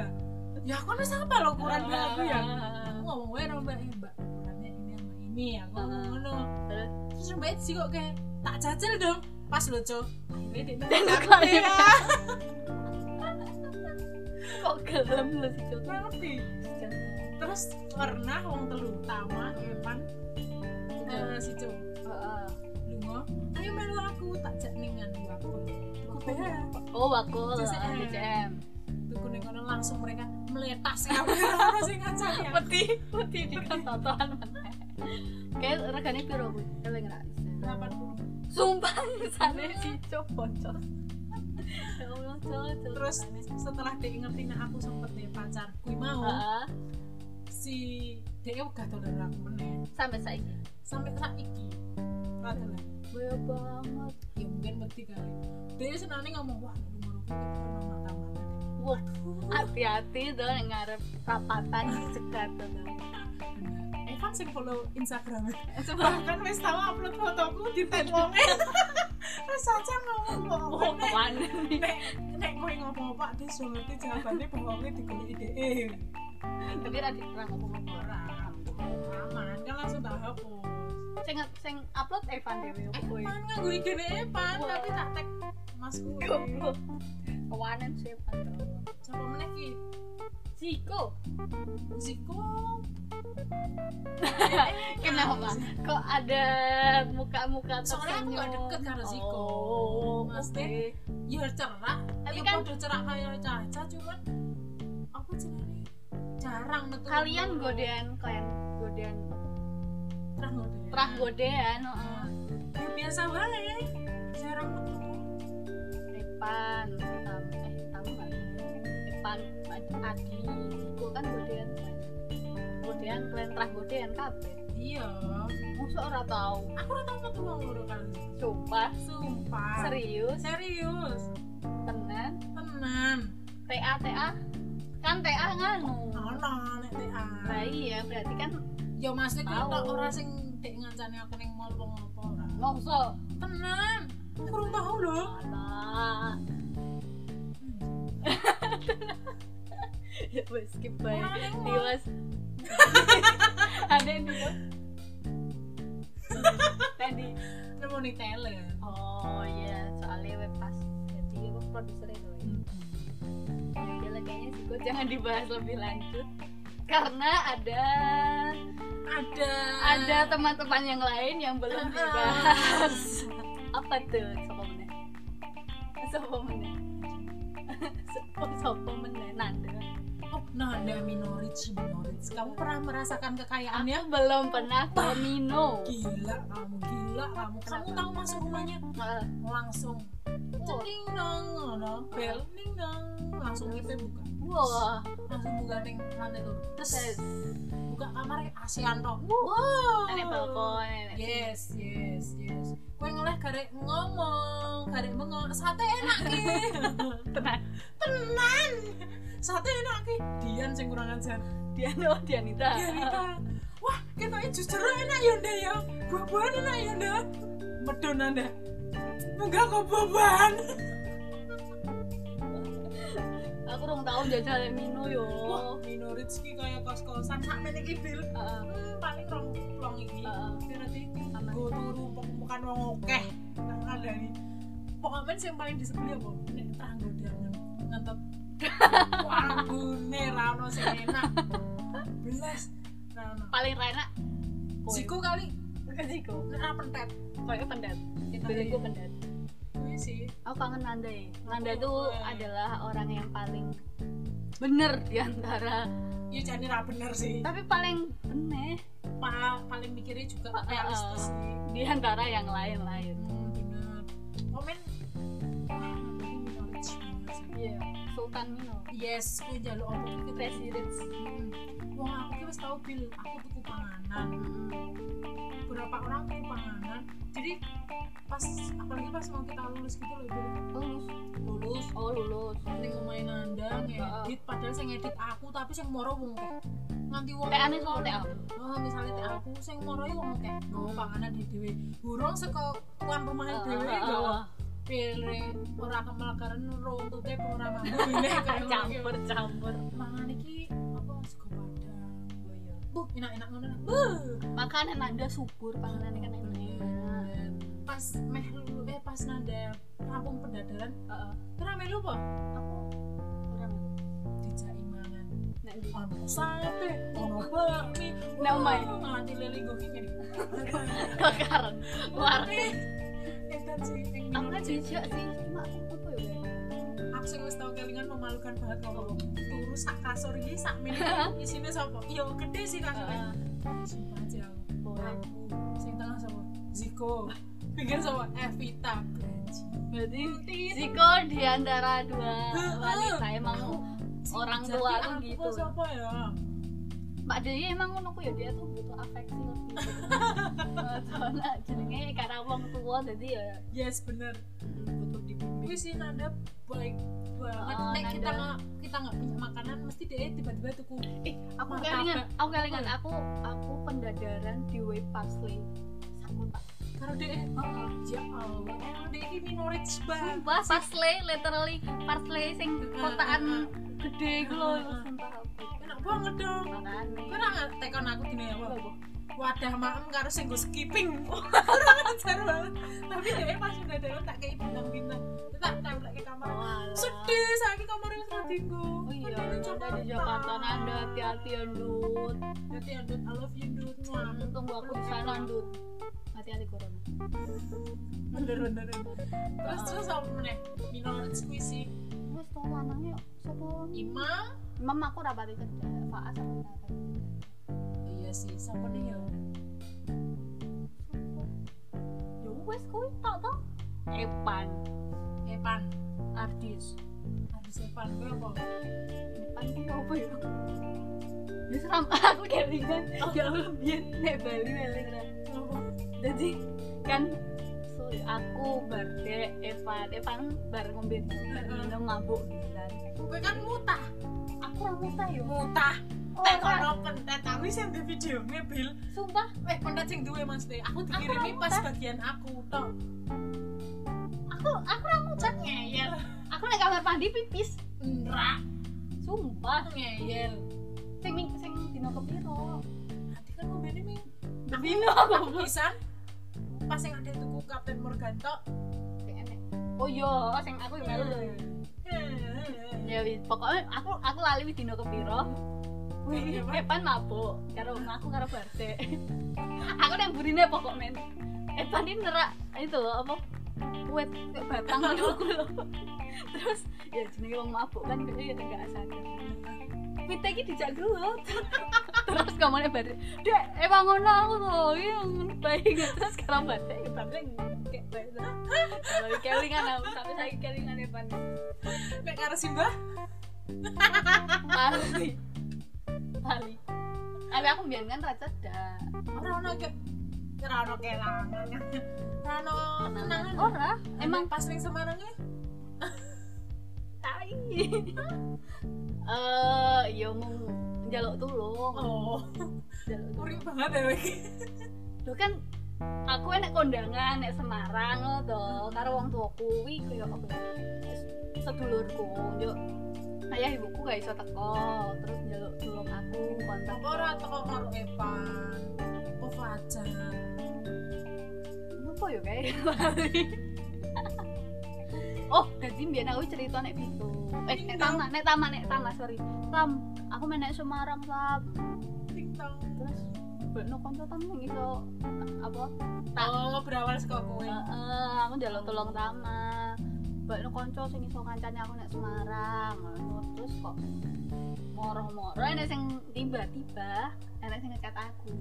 B: ya aku wis apa lho ukuran BH aku ya aku ngomong wae karo mbak "Eh, mbak ukurannya ini sama ini ya aku ngomong ngono
A: Terus?
B: terus mbak sih kok kayak tak jajal dong pas lo cok akhirnya dia
D: Tengok
B: nolak
D: lagi.
B: ya
D: kok gelem lu sih Cuk?
B: ngerti terus pernah wong telu utama Evan eh, si cok
A: Ah,
B: lunga ayo melu aku tak jak ning anu, nganu aku aku BH
A: oh wakul
B: JCM.
A: ah, JCM
B: gitu? tuku ning kono langsung mereka meletas ya. kabeh ora sing ngajak ya.
D: peti peti di kantoran meneh
A: kan kayak regane piro bu eleng ra
B: Delapan puluh.
D: sumpah sana sih Cuk, bocor ya Allah Cuk, Cuk.
B: Terus setelah dia ngerti nek aku sempet deh pacar kui mau
D: Heeh.
B: si dia udah dolan aku meneh
A: sampai saiki
B: sampai saiki ora dolan.
E: boyo banget
B: Ya mungkin beti kali. Dia senane ngomong wah nomor aku pernah mata-mata.
A: hati-hati dong yang ngarep rapatan di cegat tuh
B: Evan Eh, kan sing follow Instagram bahkan wis tau upload fotoku di tag wonge. Terus aja ngomong
D: oh
B: wong
D: kemana nih
B: nek nek kowe ngomong apa dia suruh ngerti jawabannya bahwa kowe digoleki dhek.
A: tapi radik kurang ngomong
B: Ora, aman kan langsung tak hapus.
A: sing sing upload Evan dewe ya, opo
B: Eh, Pan nganggo IG ne eh, Pan tapi tak tag Mas kuwi.
A: goblok kawanan sih Evan
B: Coba meneh ki.
A: Siko
B: Ziko. Nah,
A: kenapa kok ada muka-muka
B: Soalnya aku gak
A: tersenyum?
B: deket kan karo Ziko.
A: oh,
B: Maksudnya,
A: oke.
B: Ya cerak,
A: Tapi
B: tapi
A: kan-
B: kan udah cerak kayak Caca cuman apa jenenge? Jarang metu.
A: kalian godean kalian godean
B: Terah godean.
A: pernah godean heeh.
B: Ah, ya biasa banget. Jarang metu.
A: Evan Tam eh Tam lagi Evan Adi Siko kan godean kan godean kalian terah godean kabeh
B: Iya.
A: musuh ora tau
B: Aku ora tau metu wong loro karo Ziko.
A: coba
B: kan? Sumpah.
A: serius
B: Serius.
A: tenan
B: Tenan.
A: TA TA kan TA nganu
B: Ono nek TA.
A: Nah iya berarti kan
B: Ya maksudnya
A: Tahu.
B: kuwi tok ora sing dek ngancani aku ning mall wong apa ora.
A: ngongso
B: Tenan. Aku kurang tahu lho.
A: Alah ya wes skip bae
B: Ora ning mall.
A: Diwas Ada yang diwas Tadi
B: Nemu ning talent.
A: Oh iya soalnya web pas Jadi web produser itu ya
B: Mm-hmm.
A: Yaudah lah, kayaknya sih gue jangan dibahas lebih lanjut Karena ada
B: Ada
A: Ada teman-teman yang lain yang belum dibahas Apa tuh? Sopo meneh Sopo meneh Sopo sopo meneh Nanda
B: Oh, nah ada minority minority. Kamu pernah merasakan kekayaannya?
A: Belum pernah Tomino
B: Gila kamu, gila kamu. Kamu tahu masuk rumahnya langsung ding dong ngono, bel ding dong langsung kita buka.
A: Wah
B: Langsung buka ning lantai loro. Terus
A: Terus
B: buka kamar ASEAN tok.
A: Nenek balkon nenek-
B: Yes, yes, yes. Kowe ngeleh garek ngomong, garek bengong, sate enak ki.
A: Tenan.
B: Tenan. Sate enak ki. Dian sing kurang ajar.
A: Diana oh Dianita
B: Ya Rita. Wah, ketoknya jus jeruk enak ya Nda ya. Buah-buahan enak ya Nda. Medon Nda. Munggah kok buah-buahan.
A: Aku rong tahun jajal Mino yo
B: Wah, minorits ki kaya kos-kosan sak meneh iki bil.
A: Heeh.
B: Hmm, paling rong plong iki.
A: Heeh.
B: berarti gue turu pemukan wong okeh nang ngandani pokoknya yang paling disebeli apa nek teranggo dangan ngentot wanggune rano sing enak belas rano
A: Paling rana
B: siku kali
A: Kasihku
B: nek ra pentet
A: Pokoknya pendat
B: Kita
A: Beliku pendat
B: kuwi sih
A: Aku kangen Nanda ya Nanda
B: Aku
F: Oh, iya.
A: tuh
B: kangen.
A: adalah orang yang paling bener diantara
B: ya jane ra bener sih
A: tapi paling bener
B: Pa- paling mikirnya juga
A: Heeh.
B: realistis sih
A: diantara yang lain-lain
B: Hmm, bener komen minorits banget sih
F: Iya, Sultan Mino.
B: yes aku jaluk apa iki presiden wong aku ki wis tau bil aku tuku panganan beberapa orang tuku panganan jadi pas apalagi pas mau kita lulus gitu loh Bil.
F: Lulus.
B: lulus
F: Oh, lulus.
B: ning omahe nandang ngedit padahal sing ngedit aku tapi sing moro wong akeh. nganti wong
F: PA nih soal TA.
B: Oh, misalnya teh aku sing moro iki wong akeh nggawa panganan di dhewe. Burung saka tuan rumahnya dhewe nggawa pire ora kemelekaren runtute apa ora mambu bilih kaya
G: campur campur
B: mangan iki apa sego padang.
G: Oh, iya.
B: Buh, enak-enak ngono. nah. Buh.
A: Makanan Nanda subur, panganan kan enak.
B: Iya. Pas meh lulu eh pas nanda rampung pendadaran,
A: Heeh.
B: kira melu apa?
A: Aku kurang.
B: Dijaki mangan.
A: Nek di
B: Ono sate, ono bakmi.
F: Nek omah ya?
B: Wah, Nganti lele go iki.
F: Kebakaran. Luar.
B: Edan sih ning
A: aku kan
B: minum sih.
A: jijik sih, cuma aku apa ya? Bel?
B: aku sing wis tau kelingan memalukan banget ngomong turu sak kasur iki sak menit isine sapa iya gede sih kasurnya sumpah aja aku aku sing tengah sapa Ziko pinggir sapa Evita Benji
F: Berarti
B: Tit.
F: Ziko di antara dua
B: Heeh.
F: wanita emang orang
B: Jadi
F: tua
B: aku
F: tuh gitu.
B: sapa ya
A: Mbak Dewi emang ngono ku ya dia tuh butuh afeksi lebih. Eh, Soalnya jenenge karena wong tua jadi ya
B: yes bener
A: butuh dibimbing.
B: wis sih nanda baik banget
A: Oh,
B: nek kita
A: Nanda.
B: nggak kita nggak punya makanan mesti dia tiba-tiba tuku
A: Eh, aku
B: Martabak.
A: kelingan, aku kelingan, aku aku pendadaran di Way Parsley. Sama Pak.
B: karo dia ya Allah emang dia ini minority banget
F: Sumpah, parsley literally parsley sing kotaan gede gitu loh.
B: Heeh.
F: Sumpah aku.
B: enak banget dong
F: Makane.
B: Kau nggak tekon aku gini ya, Wak? wadah maem karo sing go skipping. Kurang ajar banget. Tapi dhewe pas udah dalam tak kei bintang-bintang. Dia Tak templek ke kamar. Sedih saiki kamar wis ra dienggo.
F: Oh iya,
B: Padahal di
F: ada di Jakarta Nanda hati-hati ya Ndut.
B: Jadi andut I love you Ndut. Wah,
F: Tunggu aku di sana Ndut.
A: Hati-hati corona.
B: Bener bener. bener. Terus terus
F: Ah.
B: apa meneh? Minority kuwi sih.
A: Wes tau lanangnya sapa?
B: Ima.
A: Mam aku rapati kerja, Pak As aku rapati kerja.
B: Oh Iya sih, sapa nih ya?
A: Ya wes kuwi tok to.
F: Epan,
B: Evan.
F: artis.
B: Harus Evan kuwi apa?
A: Depan ki opo ya? Wis ram aku kelingan. Ya Allah, biyen nek Bali wele ra.
B: Apa?
A: Jadi kan so, aku bar dek Evan, Evan bar ngombe bar minum mabuk gitu kan.
B: Kuwi kan mutah.
A: Aku ra muta yo.
B: Mutah.
F: Oh,
A: Tek
B: Tekon
A: kono.
B: no pentet aku sih di videonya Bil.
A: Sumpah
B: Eh, kontak sing duwe Mas Teh. Aku dikirimi pas bagian aku tok.
A: aku aku ra muta.
B: Ngeyel.
A: Aku nek kamar mandi pipis.
B: Ndra
A: Sumpah
B: ngeyel.
A: sing ming- sing dino kepiro?
B: Nanti kan ngomene mi.
A: Dino
B: Aku pisan pas sing ada tuku Captain Morgan tok.
A: Oh iya, sing aku
B: Hmm.
A: yang melu.
B: Hehehe.
A: Ya wis, pokoknya aku aku lali wis dino kepiro. Wih,
B: Iya, Pak.
A: Evan mabuk karo aku karo Barte. aku nang burine pokok men. Evan ini nerak itu loh apa? Wet wet batang ngono aku loh. Terus ya jenenge wong mabuk kan kayaknya ya enggak sadar. Pita iki dijak gelut. Terus kamane Barte, "Dek, emang ngono aku loh, iya ngono baik." Terus karo Barte, ya Barte kayak baik. Kalau dikelingan aku sampai saya kelingan Evan.
B: Nek karo Simbah
A: Bali. Bali. Tapi aku biar kan ra cedak.
B: ora ono ke ora ono kelangan. Ora ono kenangan. Oh,
A: Ora, emang
B: pas ning Semarang ya?
A: tai. Eh, ya mung njaluk tulung.
B: Oh,
A: Njaluk tulung.
B: kuring banget ya iki.
A: Lho kan aku enek kondangan nek Semarang lho to, karo wong tuaku kuwi kaya apa? ya? Sedulurku yo ayah ibuku gak iso teko, terus njaluk tulung aku kontak.
B: Apa ora teko karo Evan? Apa Fajar?
A: Apa ya, yo kae? Lali. oh, dadi mbiyen aku cerita nek Pitu. Eh, nek Tama, nek Tama, nek Tama, sorry. Tam, aku main nek Semarang, Tam.
B: Ting tong.
A: Terus bekno kanca Tam sing iso apa?
B: Oh, berawal saka kowe.
A: Heeh, aku njaluk tolong Tama. Bekno kanca sing iso kancane aku nek Semarang. Ngono. Terus kok moro-moro enek sing tiba-tiba enek sing ngekat aku.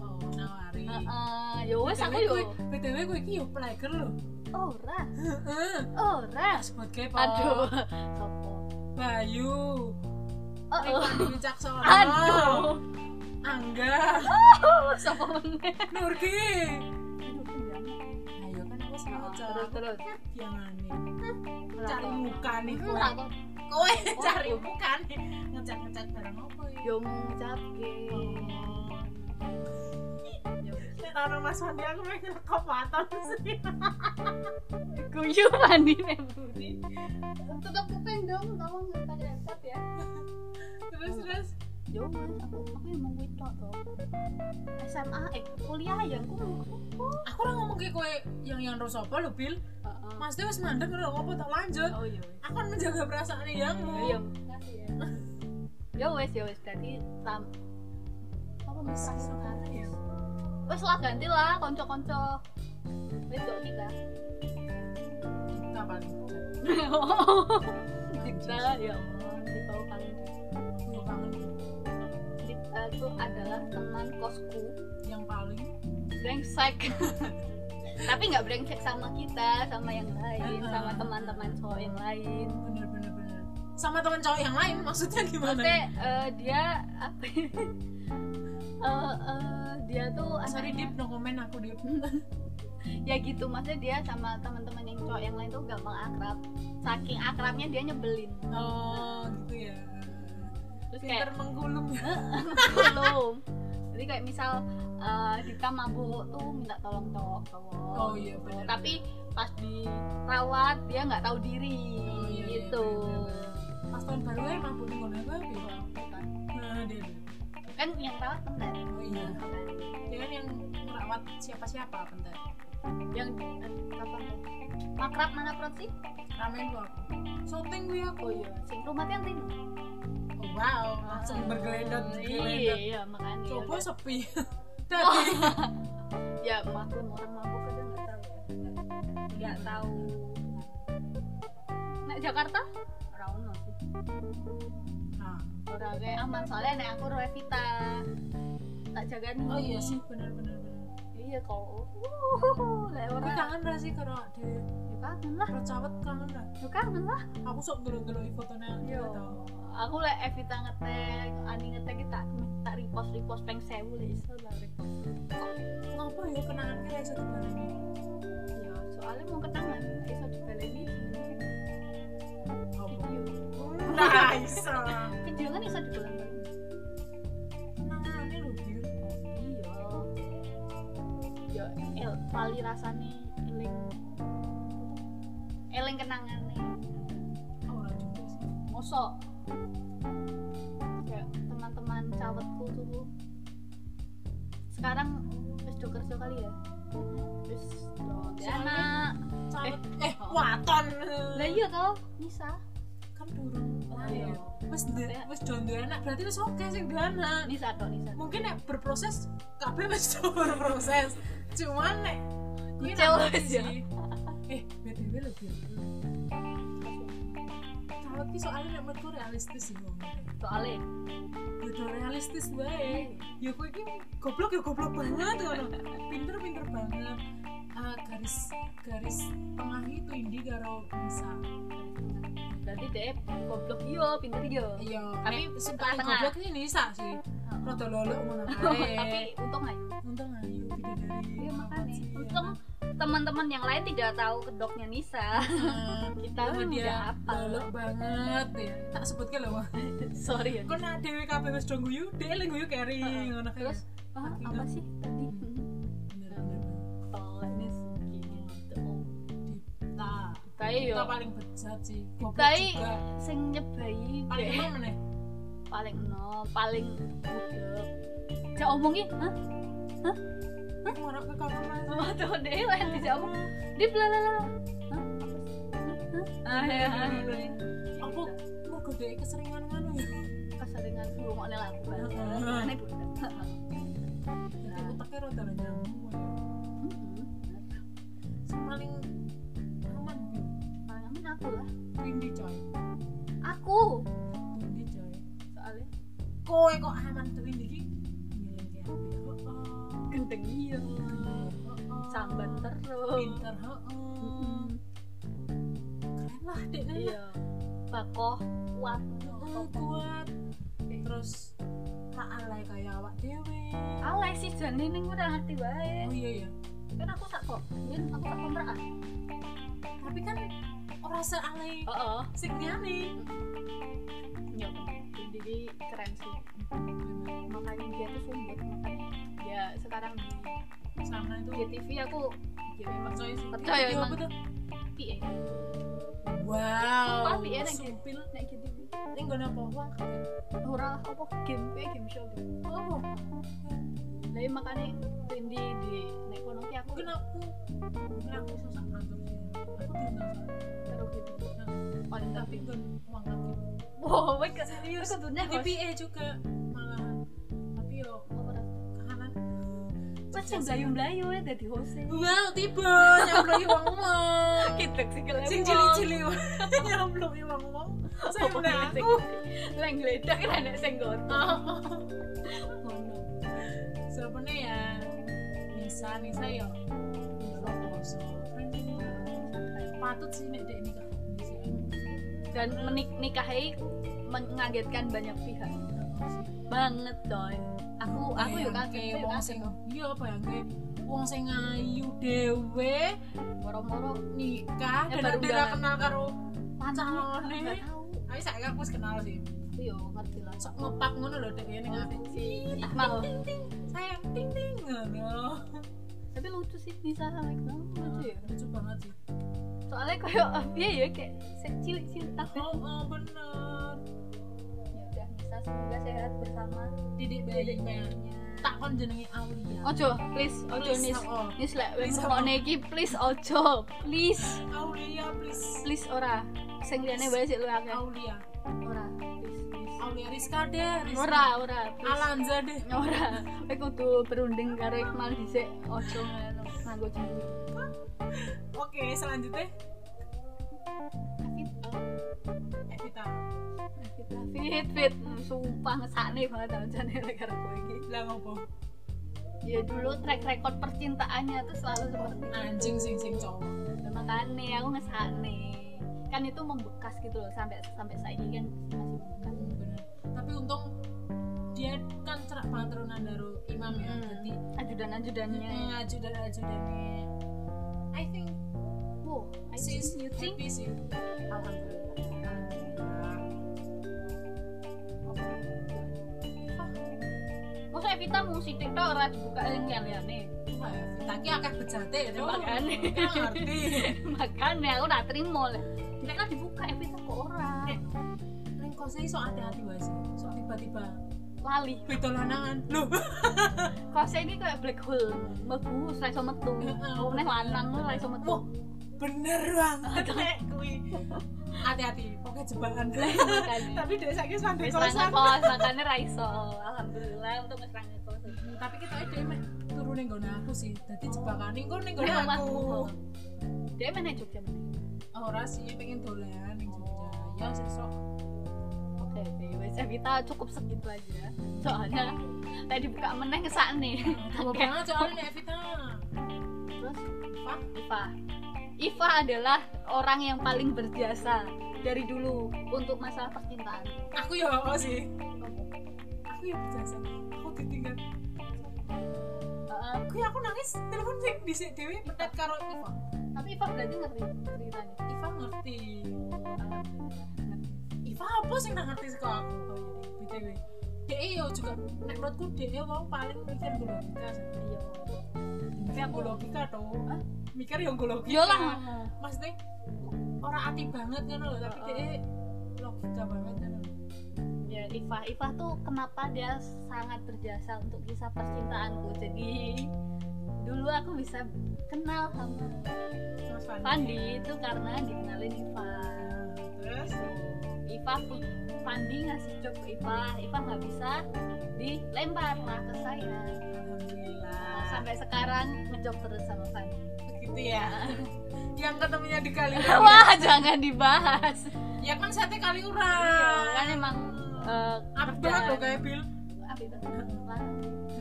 B: Oh, nawari.
A: Heeh, yo wes aku
B: BTW
A: yo.
B: kowe- BTW kowe iki yo player lho.
A: ora
B: Heeh.
A: ora
B: Pas buat kepo.
A: aduh sopo
B: Bayu.
A: oh, oh.
B: Evan Wicaksono.
A: aduh
B: Angga.
A: sopo meneh
B: Nurki. Ayo kan aku sama
H: terus terus
B: yang aneh. Cari
H: Cari-
B: muka nih
A: Aku
B: kowe.
A: tak tahu.
B: Kowe Eh, cari muka nih. Ngecek-ngecek barang apa ya?
H: yo ngucapke
B: Nek ana Mas Wandi aku pengen rekam waton sih.
A: guyu mandi nih budi tutup kuping dong tolong nggak pakai headset ya
B: Terus terus
H: yo
A: aku aku emang kuwi tok to SMA eh kuliah ya aku
B: aku ora ngomong ke kowe yang yang terus apa lho Bil?
A: Heeh.
B: Mas Dewi wis mandek lho apa tak lanjut.
H: oh yo
B: Aku kan menjaga perasaan
H: yo
B: yang
A: makasih ya
H: yo Ya wes yo wes berarti tam
A: apa bisa
B: ya.
A: wes lah ganti lah konco-konco wes dok kita
B: Kita paling
H: Dipta ya Nah, Allah Dipta paling
B: aku kangen
H: Dipta itu adalah teman kosku
B: yang paling
H: brengsek tapi nggak brengsek sama kita sama yang lain
B: Uh-uh.
H: sama teman-teman cowok yang lain
B: bener-bener bener. Sama teman cowok yang lain maksudnya gimana?
H: maksudnya eh, dia apa ya? Eh, eh, dia tuh
B: Sorry
H: anaknya-
B: Dip, no comment aku Dip.
H: ya gitu maksudnya dia sama teman-teman yang cowok yang lain tuh gampang akrab saking akrabnya dia nyebelin
B: Oh, gitu ya.
H: terus kayak
B: Pinter menggulung.
H: belum gitu. jadi kayak misal eh, Dita mabuk tuh minta tolong cowok cowok
B: Oh iya benar.
H: tapi pas dirawat dia nggak tahu diri
B: Oh, iya, iya,
H: gitu
B: pas tahun baru ya mabuk ning ngono aku ya. Nah, Dip.
H: kan yang rawat teman
B: Oh iya. Dia kan yang merawat siapa-siapa bentar.
H: yang eh, apa makrab mana prot sih
B: Ramen gua. Shooting gue aku.
H: oh iya sing rumah yang tim
B: Oh, wow, langsung bergeledot bergeledot.
H: iya makanya
B: Coba sepi. Tadi
H: ya maklum orang mabuk kadang nggak tahu ya nggak tahu
A: nek Jakarta
H: orang ono sih
B: Nah,
H: orang kayak
A: aman soalnya nek aku Revita tak jaga nih
B: oh iya sih benar-benar.
H: iya kok
A: lek
B: Tapi
A: ora
B: kangen ra sih karo dhewe.
A: ya kangen lah
B: Karo cawet kangen ra.
A: ya kangen lah
B: Aku sok ndelok-ndeloki fotone
A: Yo.
B: aku tau.
A: Iya. aku lek Evita ngetek Ani ngetek kita tak repost repost peng sewu lek iso lah repost
B: Ngopo ya kenangan ki ra iso dibaleni.
A: ya soalnya mau kenangan gak iso dibaleni jenenge
B: Apa?
A: video
B: Nah, iso.
A: video kan iso dibaleni
B: Kenangane lho, Bir.
A: iya yo el pali rasane eling eling kenangane
B: Oh, Ora juga sih.
A: mosok kayak teman-teman cawetku tuh sekarang wis do kerja kali ya wis do
B: Soalnya-
A: anak
B: Cawet eh waton.
A: lah iya toh bisa
B: Kan durung. Lah
A: Iya.
B: iya. Wis ndu- wis do duwe anak, berarti wis oke sing duwe anak.
A: bisa toh bisa
B: mungkin nek berproses kabeh wis berproses cuman nek kuwi
A: Kucel
B: nambah
A: wis ya.
B: sih. eh btw lho Bil kalau ki soalnya nek menurutku realistis sih ngomong
A: soalnya
B: udah realistis bae ya kowe iki goblok ya goblok banget ngono pinter pinter banget Ah, garis garis tengah itu indi karo bisa
A: berarti deh goblok yo pinter yo
B: iya
A: Tapi
B: nek sing paling
A: tengah. Oh.
B: goblok ini Nisa sih rada lolok ngono kae
A: tapi untung aja
B: untung ayu bidadari
A: Iya, makanya.
B: Sih, ya.
A: Untung teman-teman yang lain tidak tahu kedoknya Nisa
B: Eh,
A: kita
B: Tahu
A: udah
B: dia
A: apa
B: balok banget ya. Tak sebutke lho. Wah.
A: sorry ya
B: Kon nak dhewe kabeh wis do guyu, dhek le guyu keri
A: Heeh.
B: ngono kae.
A: Terus, Wah, apa sih tadi
B: bener-bener
A: tolak nih gitu
B: kita.
A: Tapi ya. yo
B: Nah, Kita paling bejat sih. Goblok
A: Tapi-
B: juga.
A: sing nyebai
B: Paling
A: deh
B: emang meneh.
A: paling no paling budek cak omongi hah
B: Aku ora ke kamar Mas.
A: tuh deh lah yang dijak omong dia belalala hah apa sih? Hah? ah ya
B: Apa mergo dhek keseringan ngono ya.
A: keseringan dulu mau nela aku kan
B: Heeh.
A: aneh budek
B: Jadi Uteknya rada nyambung.
A: Hmm,
B: Sing paling aman
A: paling aman aku lah
B: Windy coy.
A: aku
B: Windy coy.
A: soalnya
B: Kowe kok aman tuh Windy iki? Ngiling kayak apa ya? Oh, oh.
A: gendeng iya
B: Oh, oh.
A: disamban terus
B: pinter heeh.
I: Mm-mm.
B: keren lah deknya
A: iya bakoh kuat
B: Heeh, kuat terus tak alay kayak awak dewe
A: alay sih jane ning ora ati wae
B: oh iya iya
A: kan aku tak kok yen aku tak kontrakan
B: tapi kan orang sealay
A: heeh
B: sing liyane
J: Ya, jadi keren sih makanya dia tuh sumbut makanya ya sekarang di
B: sama itu
J: GTV aku ya emang
B: percaya sih
J: Percaya,
B: Iya,
J: emang.
B: betul.
J: piye
B: wow
J: Tapi enak,
B: sumpil
J: nek GTV
B: ning nggon apa uang
J: ora lah apa game kayak game show gitu
B: oh
J: jadi makanya di di nek kono ki aku
B: mungkin aku mungkin aku susah ngantor sih aku diundang soalnya.
J: karo GTV
B: oh tapi nggon uang lagi
J: wow wek serius
B: nah
J: kudune
B: di PA juga malahan tapi yo kahanan
A: wes sing mlayu-mlayu ya dadi hose
B: wow tiba nyamplungi uang uang
A: kita sih kalau
B: sing cili-cili uang nyamplungi uang uang saya udah aku
A: sing gledak kan ana sing goto ngono
B: sebenarnya ya Nisa Nisa yo ndelok poso Keren sih, Nisa. patut sih nek dek nikah Di sini.
A: dan menik nikahi mengagetkan banyak pihak Iya, banget coy aku aku yo
B: Bayangke
A: kaget
B: wong sing iya bayangke wong sing ayu dhewe
J: moro-moro
B: nikah
A: Eh,
B: dan
A: baru
B: ada
A: undangan.
B: kenal karo
J: pancalone
B: Calonnya.
J: gak tahu
B: ayo saya aku wis kenal sih
J: aku
A: Iya,
J: yo ngerti lah
B: sok ngepap ngono lho dek ning ati
A: mal
B: sayang ting ting ngono
J: tapi lucu sih bisa sama Iqbal
B: Iya,
A: Nah.
J: lucu ya
B: lucu banget sih
A: soalnya koyo piye ya kayak cilik cilik tapi
B: oh, oh bener
A: ya udah bisa semoga sehat bersama Ya.
B: didik bayi tak kon jenenge Aulia
A: ojo please ojo
B: Please,
A: nis
B: oh, oh.
A: nis lek wis
B: Please,
A: ngrungokne
B: apa?
A: iki please ojo please
B: Aulia please
A: please ora sing liyane wae sik lu akeh
B: Aulia
A: ora please please
B: Aulia Rizka deh Rizka.
A: ora ora please
B: Alanza deh
A: ora kowe kudu berunding karo Iqmal dhisik ojo ngono nganggo janji
B: oke selanjutnya Evita
A: fit fit Hmm, sumpah ngesakne banget sama jane lek karo kowe iki
B: lah ngopo
A: ya dulu track record percintaannya tuh selalu seperti itu
B: anjing sing sing cowok
A: Nah, makanya aku ngesakne kan itu membekas gitu loh sampai sampai saat ini kan masih membekas
B: bener tapi untung dia kan cerak banget Rona Nandaro imam ya
A: Hmm.
B: jadi
A: ajudan ajudannya
B: eh, ajudan ajudannya I think
A: wow I
B: she's
A: think you think
B: happy sih
A: masa Evita mau si TikTok ora dibuka yang kaliane
B: Wah, Evita ki akeh bejate ya Dok.
A: Makane.
B: Nggak ngerti
A: makanya aku gak terima lah mereka dibuka Evita kok ora
B: Eh. Neng kose iso hati-hati wae sih Sok tiba-tiba
A: lali
B: Betul lanangan Loh
A: kosnya ini kayak black hole mlebu ora iso metu
B: Heeh.
A: oh neh lanang ora iso metu
B: Wah, bener banget Nek, kuwi. Hati-hati Pokoknya jebakan
A: makanya
B: Tapi dia sakit sampai
A: Wis
B: kosan
A: lanang kos, makanya ra iso. Alhamdulillah untuk wis lanang kos.
B: tapi kita ada emang turu ning gone aku sih dadi jebakan ning kono ning gone
A: Lah,
B: Iya, aku
A: Mas. Dia mana Jogja mana?
B: ora sih pengen dolan ning Jogja ya sesok
A: Oke, oke. Wis kita cukup segitu aja. Soalnya tadi buka meneh ngesakne.
B: tua
A: Oke.
B: banget soalnya Nek Vita
A: Terus
B: Iva?
A: Iva. Iva adalah orang yang paling berjasa dari dulu untuk masalah percintaan.
B: aku ya apa sih aku ya berjasa aku ditinggal
A: Heeh.
B: aku ya aku nangis telepon sih di sini Dewi mendat karo Iva
A: tapi Iva berarti ngerti ceritanya.
B: Iva ngerti Iva apa sih nggak ngerti sekolah aku Oh, iya, BTW DE yo iya juga nek menurutku DE wong paling mikir gue logika sih
A: Iya.
B: tapi aku logika tuh
A: Hah?
B: mikir yang gue logika
A: Iya lah.
B: maksudnya orang ati banget kan loh tapi
A: Heeh.
B: dia logika banget kan loh.
A: ya Iva Iva tuh kenapa dia sangat berjasa untuk kisah percintaanku jadi dulu aku bisa kenal sama
B: Mas Fandi.
A: Pandi itu karena dikenalin Iva
B: terus
A: Iva pun- Pandi ngasih job ke Iva Iva nggak bisa dilempar lah ke saya
B: alhamdulillah
A: sampai sekarang ngejob terus sama Pandi
B: gitu ya yang ketemunya di kali
A: wah jangan dibahas
B: ya kan sate kali
A: Iya, kan
B: urang
A: emang eh,
B: apa banget
A: kerjaan.
B: loh kayak Bill
A: apa itu Lah,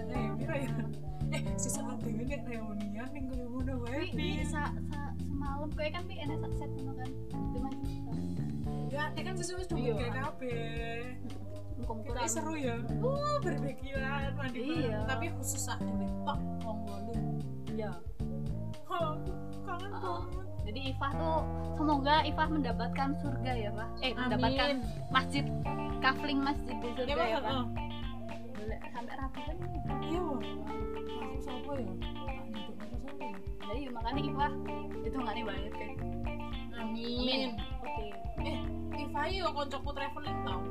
B: Eh, Mira ya. eh sesama dewe nek reunian ning koyo ngono wae.
A: Wi, sa, sa, semalam kowe kan pi enak sak set ngono kan. Cuma kita.
B: Ya, nek kan sesuai sudah
K: Iya.
B: kayak kabeh.
A: Kumpul
B: Tapi seru ya. Uh, berbekilan mandi
A: Iya.
B: bareng. Tapi khusus sak dewe tok wong wolu.
K: Iya.
B: Oh, kangen
A: Oh.
B: banget.
A: Jadi Ifah tuh semoga Ifah mendapatkan surga ya, Pak. Eh, mendapatkan masjid kafling masjid di
B: Ya,
A: surga
B: Mas,
A: ya, Pak.
B: oh.
A: Boleh sampai rapi kan.
B: Iya. Aku sapa ya? Pak, duduk aku sapa ya?
A: Jadi makanya Ifah itu nggak nih banget kan.
B: Amin.
A: Oke.
B: Ifai yo koncoku traveling tau.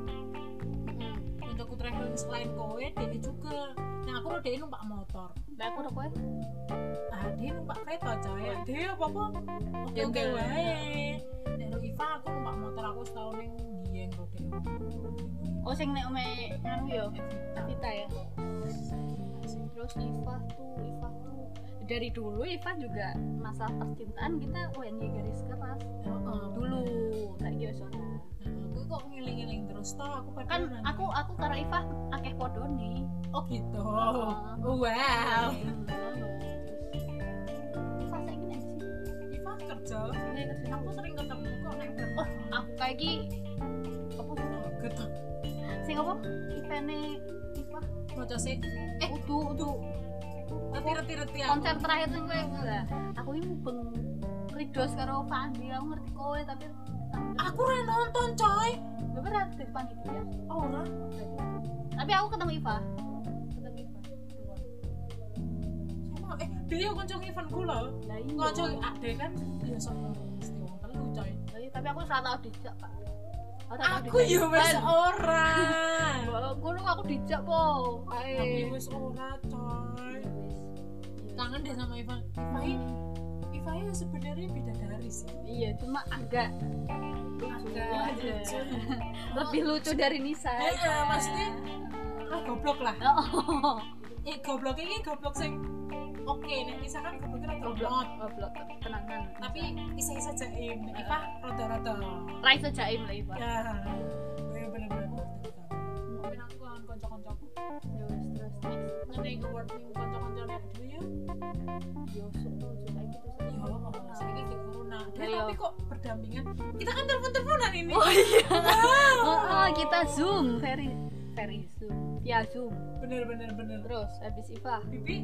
B: Koncoku traveling selain kowe, Dene juga. Nah, aku rodene numpak motor.
A: Lah Nah, aku udah kowe.
B: Ah, dia numpak kereta coy. Dia apa-apa oke-oke
A: Jendel.
B: wae. Nek ro Iva aku numpak motor aku setahun ning Dieng ro dhewe.
A: Oh, sing nek ome nganu yo. Tita ya.
L: terus Iva tuh Iva tuh
A: Dari dulu Ifah juga masalah percintaan kita oh, wengi garis keras Nah, dulu. Tak yo soalnya.
B: Nah, Aku kok ngiling-ngiling terus toh aku
A: Kan
B: padahal nanti-
A: aku aku karena Ifah akeh podo nih. Nah,
B: oh gitu.
A: Oh.
B: Wow.
A: Ifah saya gini sih.
B: Iva kerja.
A: Ini kerja
B: Aku sering ketemu kok nek
A: Oh, aku kayak gini
B: apa gitu.
A: sing apa eventnya Ifah
B: Bocah sih
A: eh udu udu
B: reti-reti aku.
A: konser terakhir sing kowe lah aku ini mubeng ridos karo Fandi aku ngerti kowe tapi
B: Aku ora nonton coy.
A: gak berat di depan gitu ya
B: Oh, ora.
A: tapi aku ketemu Ifah ketemu Ifah
B: Sama eh dia kanca event kula.
A: lah iya
B: Kanca ade kan ya sok mesti wong telu coy.
A: Lah iya, tapi aku salah tau dijak pak
B: aku ya wis ora
A: Gue aku dijak po
B: tapi
A: Ayo
B: wis ya ora coy
A: Iya.
B: kangen deh sama Iva Ivai Ivai ya sebenarnya bidadari sih
A: Iya cuma agak
B: agak
A: Waduh.
B: lucu
A: lebih lucu dari Nisa
B: Eh, eh, maksudnya ah goblok lah
A: Oh,
B: eh goblok ini goblok sing oke nih Nisa kan gobloknya rada goblok
A: goblok tenangan
B: tapi isa-isa jaim Iva rada-rada
A: Raisa jaim lah Ifah
B: ya gue bener-bener ngerti kita. Mungkin aku kangen konco-koncoku
A: Ya wes, terus next.
B: ngene award ning konco-konco nek dhewe ya
A: Yo sok tuh juga gitu
B: Ya
A: sih.
B: Allah, saiki di corona. Dan
A: Ayo.
B: tapi kok berdampingan? Kita kan telepon-teleponan ini.
A: Oh, oh, kita zoom, very very zoom. Ya zoom.
B: Bener bener bener.
A: Terus habis Iva, kan
B: Bibi,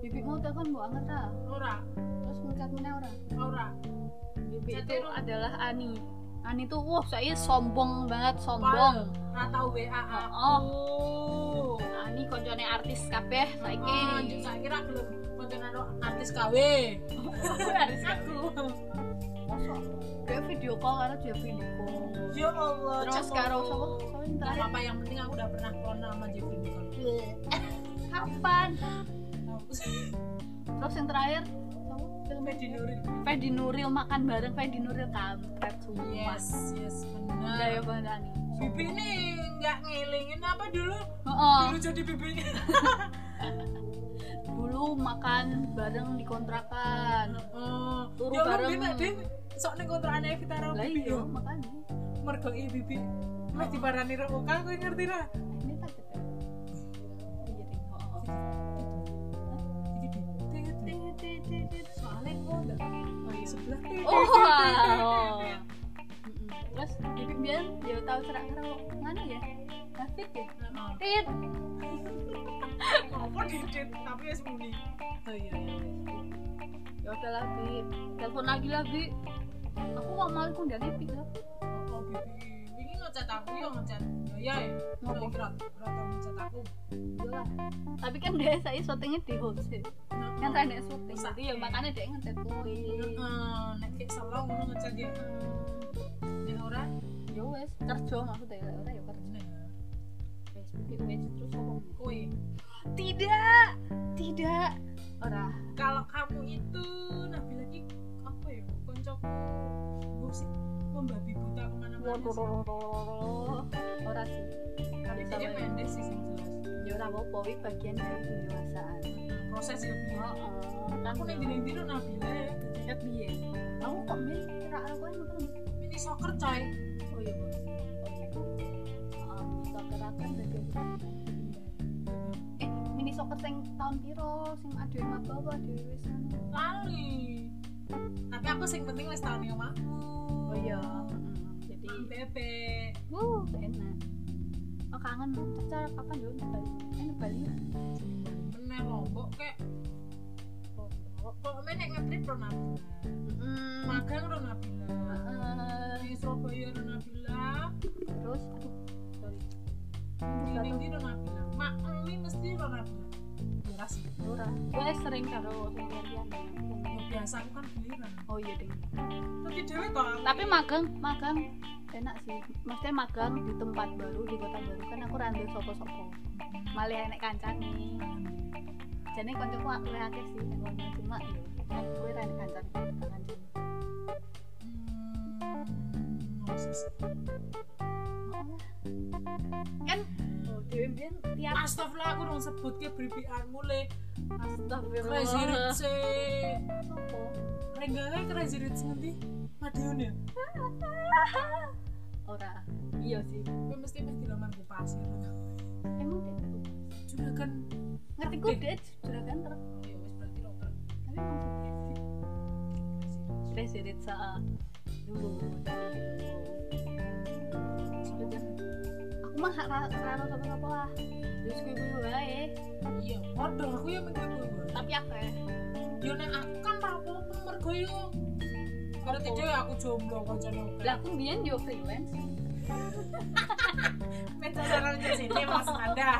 A: Bibi mau telepon Bu Angkat ta.
B: ora,
A: Terus ngecat meneh ora.
B: ora.
A: Bibi itu
B: Catero.
A: adalah Ani. Ani tuh wah saya sombong banget,
B: Wah,
A: sombong.
B: ora tau WA aku.
A: Oh, Ani koncone artis kabeh saiki.
B: Anjir,
A: iya.
B: saiki ra gelem konconan karo artis KW.
A: artis
B: Aku.
A: Mosok kayak video call karo Jeffrey Nico.
B: Ya Allah,
A: Terus
B: cakep.
A: karo sapa? Sapa yang
B: Gak
A: terakhir?
B: apa-apa yang penting aku udah pernah corona sama Jeffrey Nicole.
A: Kapan?
B: Aku sih
A: Terus yang terakhir sapa?
B: filmnya di Nuril.
A: Fedi Nuril makan bareng Fedi Nuril kampret sumpah
B: Yes, yes
A: Udah ya
B: bener.
A: Bang Dani
B: Bibi nih nggak ngelingin apa dulu?
A: Heeh,
B: Dulu jadi bibi.
A: dulu makan bareng di kontrakan
B: Oh,
A: Turu
B: ya
A: bareng.
B: bareng. Dia dia sok ning kontrakan Evita Rao
A: Lah
B: Bibi
A: iya
B: yo.
A: makanya
B: Mergo i Bibi. Wis diparani rek oka kowe ngerti ra?
A: Ini tak cepet Iya ding heeh.
B: Iki di. Tit, tit.
A: Ting, ting, ting, ting.
B: Soale kok enggak. Oh, iya, sebelah. Tit,
A: Oh,
B: tit, tit, tit, tit,
A: wow.
B: tit.
A: Mm-mm. Terus di pimpinan dia tahu cerak karo nganu ya David ya
B: Nah,
A: Tit
B: oh, Apa di tit tapi wis muni. Oh iya. iya.
A: Ya udah lah Bi Telepon lagi lah Bi Aku kok malah kundangnya Bi lah
B: Oh, Bibi. Wingi ngecat aku yo ngecat. Ya ya. Mau
A: Ngopo?
B: kira kira tau ngecat aku.
A: Iya lah. Tapi kan dia saya syutingnya di host ya.
B: Nah,
A: kan saya nek syuting
B: Bisa.
A: jadi ya makanya dia ngechat kuwi
B: Heeh, nek kayak salah ngono ngecat ya. Nek ora,
A: ya wes kerja maksudnya ya ora ya kerja
B: nek
A: wes pipi gitu, wes terus apa
B: kowe
A: tidak tidak ora
B: kalau kamu itu Nabila ki apa ya koncoku gue sih membabi buta kemana-mana sih
A: ora sih
B: tapi
A: sama
B: dia
A: ya.
B: pendek sih yang jelas
A: ya ora apa iki bagian dari kedewasaan
B: proses ya Bi.
A: heeh
B: aku nih gini gini Nabila ya
A: ya piye aku kok men ora aku yang nonton
B: mini soccer coy
A: oh iya Bu.
M: Ah,
A: oh iya Heeh, bisa gerakan dari eh mini
M: sok keteng tahun piro sing adewe maba apa adewe wis anu.
B: kali tapi aku sing penting wis tahun yang aku
M: Oh iya, mm, jadi
B: Bebe
M: wuh enak. Oh kangen, cacar kapan yo nek Bali? Eh nek Bali ya?
B: meneh lombok kek lombok kok meneh ngetrip Ron Nabila magang Ron Nabila di Surabaya Ron Nabila
M: Terus aduh sorry.
B: di Rindy Ron Nabila mak emi mesti Ron Nabila murah Ya, sih
M: Ora. Gue sering karo sing larian.
B: Ya, biasa aku kan giliran
M: Oh iya deh.
B: tapi dewe toh aku ya.
M: Tapi magang, magang enak sih. Maksudnya magang di tempat baru, di kota baru kan aku randel sopo-sopo. Malah enek kancane. Jane kancaku aku akeh sih nek ngono cuma yo. Kan gue ra enek kancane kancane.
B: Hmm, Moses.
M: Oh, dhewe mbiyen tiap
B: Astagfirullah aku dong sebut ke beribian mulai
A: Oh.
B: Crazy
M: astagfirullah.
B: Rich
M: Sopo?
B: Renggangnya Crazy Rich nanti Madiun ya
M: Ora. Iya sih.
B: Gue mesti meh dilamar ke pasir
M: Emang deh.
B: Juga kan
M: Ngerti ku deh juragan ter.
B: Ya wes berarti dokter
M: Tapi emang
B: Crazy
M: Crazy Rich ah. Dulu. Juragan. Aku mah ra ra ro sopo-sopo lah.
A: terus gue gue wae
B: Rich. Iya waduh aku yang mengikuti gue
A: tapi aku ya
B: Ya nek aku kan rapo mergo yo Ngerti
A: Apa?
B: dhewe aku jomblo kancane oke
A: lah aku biyen yo freelance
B: Meja saran ke sini Iya, mas anda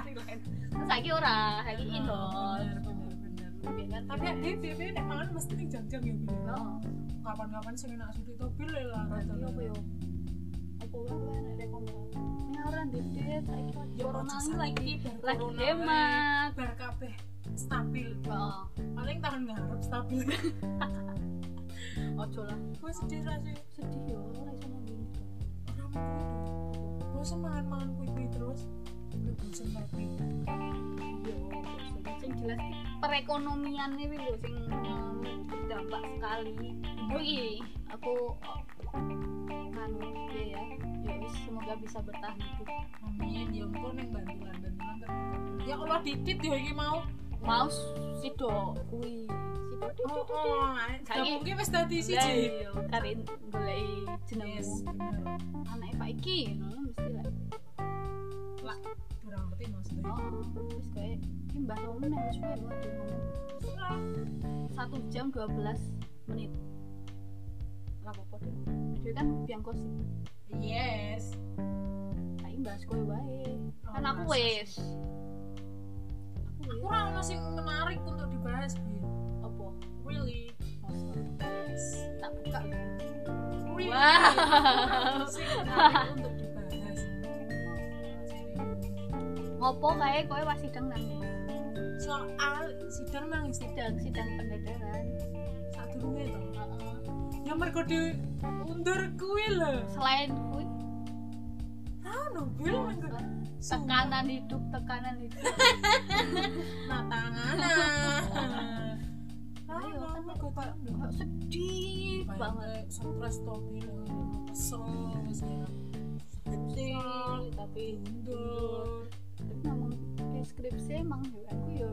A: saiki ora saiki
B: Oh,
A: indoor
B: bener, bener, bener. Tapi dia dia nek mangan mesti ning jang-jang ya bener. Kapan-kapan sing enak sudi tobil ya lah
M: Iya
B: rasanya.
M: apa
A: ya?
M: yo? Apa wae kowe nek rek ngomong. Ini ora didet saiki
B: Ya
M: corona
B: aja
M: ini lagi
B: saiki bar
A: lagi
B: corona wae.
A: hemat
B: Bar kabeh stabil.
A: oh
B: Paling tahun ngarep stabil.
M: ojo lah.
B: Gue sedih rasanya.
M: Sedih yo ora iso ngomong gitu.
B: Orang mau gue semangan-mangan kuih-kuih terus. Gue bosen lagi.
M: Yo bosen.
A: Iya, sing jelas ki perekonomian ini lho sing um, berdampak sekali oh iya
M: Aku oh, kan
A: anu,
M: ya ya. Yo wis semoga bisa bertahan hidup.
B: Amin, ya engko ning bantulan-bantulan terus. Ya Allah didit ya iki mau.
A: mau sido
M: Kuwi.
B: Oh, oh, ya
A: Saiki- iya.
B: mungkin wis dadi siji.
A: siji karin golek
B: Yes,
A: jenengmu
B: bener.
A: anake Pak iki ngono mesti lah
B: Kurang ngerti maksudnya.
A: oh
M: Wis koe iki Mbah Romi nek wis wae wae dia ngomong.
A: satu jam 12 menit
M: Ora apa-apa deh. Dia kan biang kosip.
B: Yes.
M: Saiki bahas kowe wae.
B: Oh,
A: kan aku wes
M: Aku wae
B: kurang ono sing menarik untuk dibahas Bi.
M: apa?
B: Really.
M: Masa.
B: Yes.
A: tak buka
B: Really.
A: Wow.
B: Sing menarik untuk dibahas.
A: ngopo kae kowe pas sidang nangis
B: Soal sidang nangis
A: sidang sidang pendadaran
B: sadurunge to.
A: Heeh.
B: Ya mergo di undur kuwi lho.
A: selain kuwi
B: Ono kuwi mergo
A: tekanan hidup tekanan hidup
B: tanganan. Ah. Ayo, kan mergo tak
A: kok sedih banget
B: banget stres to bilang kesel wis kira.
M: Sih, tapi
B: Undur.
M: tapi ngomong deskripsi emang yo
A: ya,
M: aku yo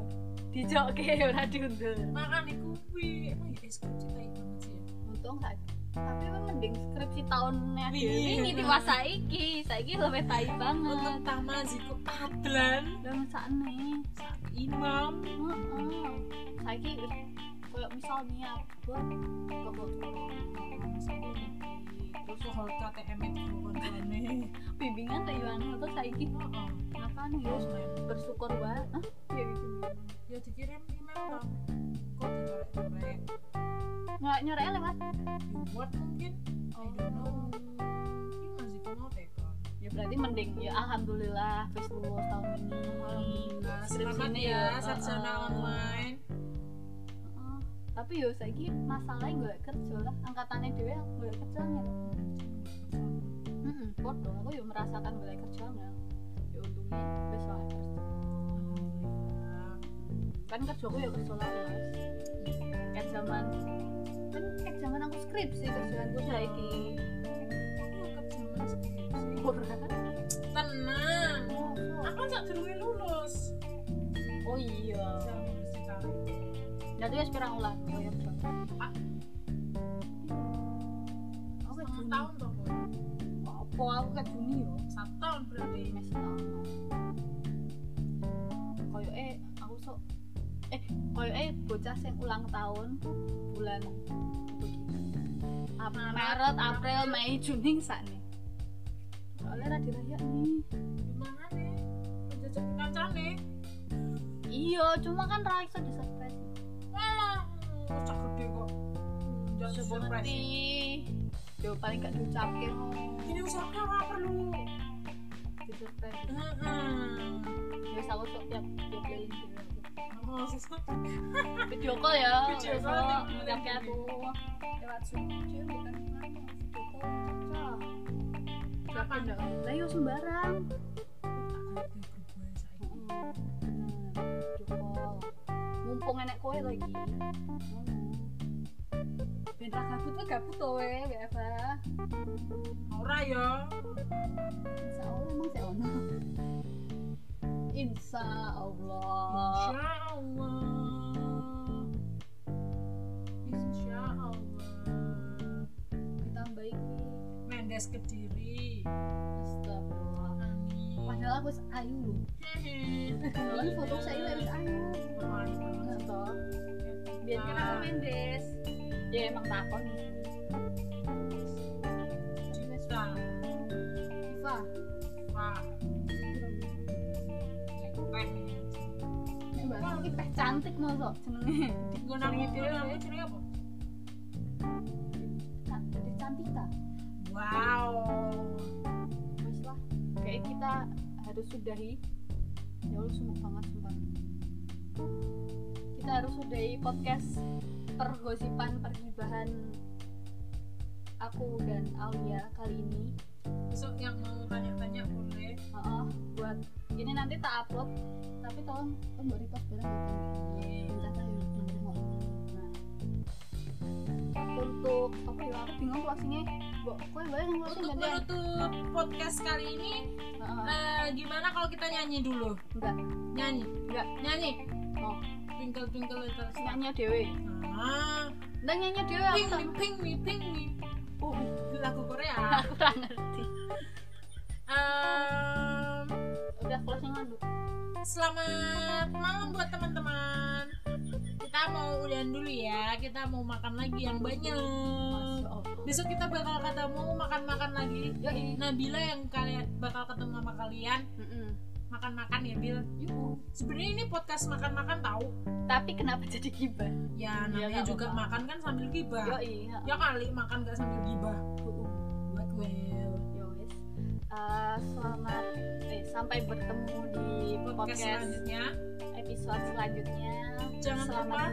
A: dijokke ya ora diundul
B: Makan iku kuwi emang ya es krim cinta banget sih ya.
A: Hmm.
M: untung gak
A: tapi kan mending skripsi tahunnya
B: Iya.
A: ini diwasa iki saiki lebih tai
B: Untuk
A: banget
B: Tama Ziko Padlan
A: dan sakne
B: Imam
A: heeh saiki koyo misal niat buat pokok
B: Terus soal KTM itu kontrane
A: bimbingan tak yo anu terus saiki apa nih
B: Iya,
A: yo bersyukur banget Hah? Iya, gitu.
B: Ya dikirim email toh Kok dikorek-korek
A: nggak nyoreknya lewat
B: Di Word mungkin I don't know
A: Oh.
B: Ini Mas Ziko mau TK
A: ya berarti mending ya alhamdulillah wis lulus tahun ini
B: Alhamdulillah
A: Skripsi
B: Selamat
A: ini
B: ya
A: heeh.
B: sarjana online
A: Heeh. Oh, tapi yo saiki masalahnya gue kerja lah angkatannya dewe gue kerja nggak Mm bodoh aku yo merasakan mulai kerja nggak ya untungnya besok aku kerja kan kerjaku ya kerja lawas kan zaman kan kan zaman aku skripsi kerjaanku saiki
B: Tenang,
A: oh
B: aku kan tak lulus.
A: oh oh iya
B: bisa membersihkan
A: jadi wis pirang ulang koyo
B: setengah tahun toh Boy.
A: apa aku ke Juni yo
B: satu tahun berarti
A: mes tahun koyo eh aku sok eh koyo eh bocah sing ulang tahun bulan Ap- Maret, April, Mei, Juni sak nih. Soalnya ra dirayak nih.
B: gimana nih menjajak kancane
A: Iya, cuma kan ra iso disurprise.
B: malah kocak gede kok jajak surprise
A: Seperti Yo paling gak diucapin
B: ini usahanya nggak perlu
A: disurprise.
B: Heeh.
A: Ya aku sok tiap tiap kali
B: Kamu harus
A: video call ya.
B: Video
A: besok
B: call,
A: tiap
B: tiap
A: aku.
N: lewat zoom aja bukan gimana video call
A: Cocok.
B: kapan dah
A: Lah yo sembarang. Video call. Mumpung enek kowe lagi. Ben ra gabut we gabut to we, Eva.
B: ora ya
A: Insya Allah emang sih ono. Insya Allah.
B: Insya Allah Insya Allah
A: Ditambah iki.
B: Mendes Kediri
A: Astagfirullah.
B: Amin
A: Padahal aku wis ayu lho. Ini foto saya wis ayu. Bener toh? biar kira aku mendes ya emang takon
B: Cinta
A: Diva
B: Pak Lepeh
A: nek mbakmu iki teh cantik mosok jenenge
B: Gue nang itu namanya jenenge apa?
A: cantik cantik ta
B: Wow
A: wis lah kayak kita harus sudahi ya Allah sungguh banget sumpah kita harus sudahi podcast pergosipan pergibahan aku dan Aulia kali ini
B: Besok yang mau tanya-tanya boleh
A: Heeh, buat ini nanti tak upload tapi tolong tolong mbak repost barang ya, Bang. ya, Nah, untuk apa ya aku bingung closingnya kok kue bayar yang closing
B: Untuk
A: gantian?
B: menutup podcast kali ini
A: Heeh,
B: eh, Gimana kalau kita nyanyi dulu?
A: enggak
B: Nyanyi?
A: Enggak.
B: Nyanyi?
A: Mau.
B: Twinkle twinkle little star
A: nyanyi dewe
B: Ah,
A: enggak nyanyi dewe aku
B: ping
A: tak-
B: mi ping mi ping mi. Oh, lagu Korea.
A: aku tak ngerti
B: Em,
A: udah closing dulu
B: selamat malam buat teman-teman. Kita mau udahan dulu ya. Kita mau makan lagi yang banyak.
A: Masya Allah.
B: Besok kita bakal ketemu makan-makan lagi.
A: Yoi.
B: Nabila yang kalian bakal ketemu sama kalian
A: Mm-mm.
B: makan-makan ya Bil.
A: Yuhu.
B: Sebenarnya ini podcast makan-makan tahu.
A: tapi kenapa jadi gibah
B: Ya
A: Iya,
B: namanya
A: nggak
B: juga
A: apa-apa.
B: makan kan sambil gibah.
A: yoi heeh.
B: Ya kali makan gak sambil gibah. Buat Will.
A: Ya wis. Eh, selamat eh, sampai bertemu di
B: podcast
A: podcast
B: selanjutnya.
A: episode selanjutnya.
B: Jangan
A: selamat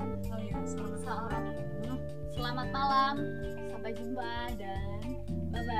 B: Oh iya, selamat malam.
A: selamat selamat malam. Sampai jumpa dan bye bye.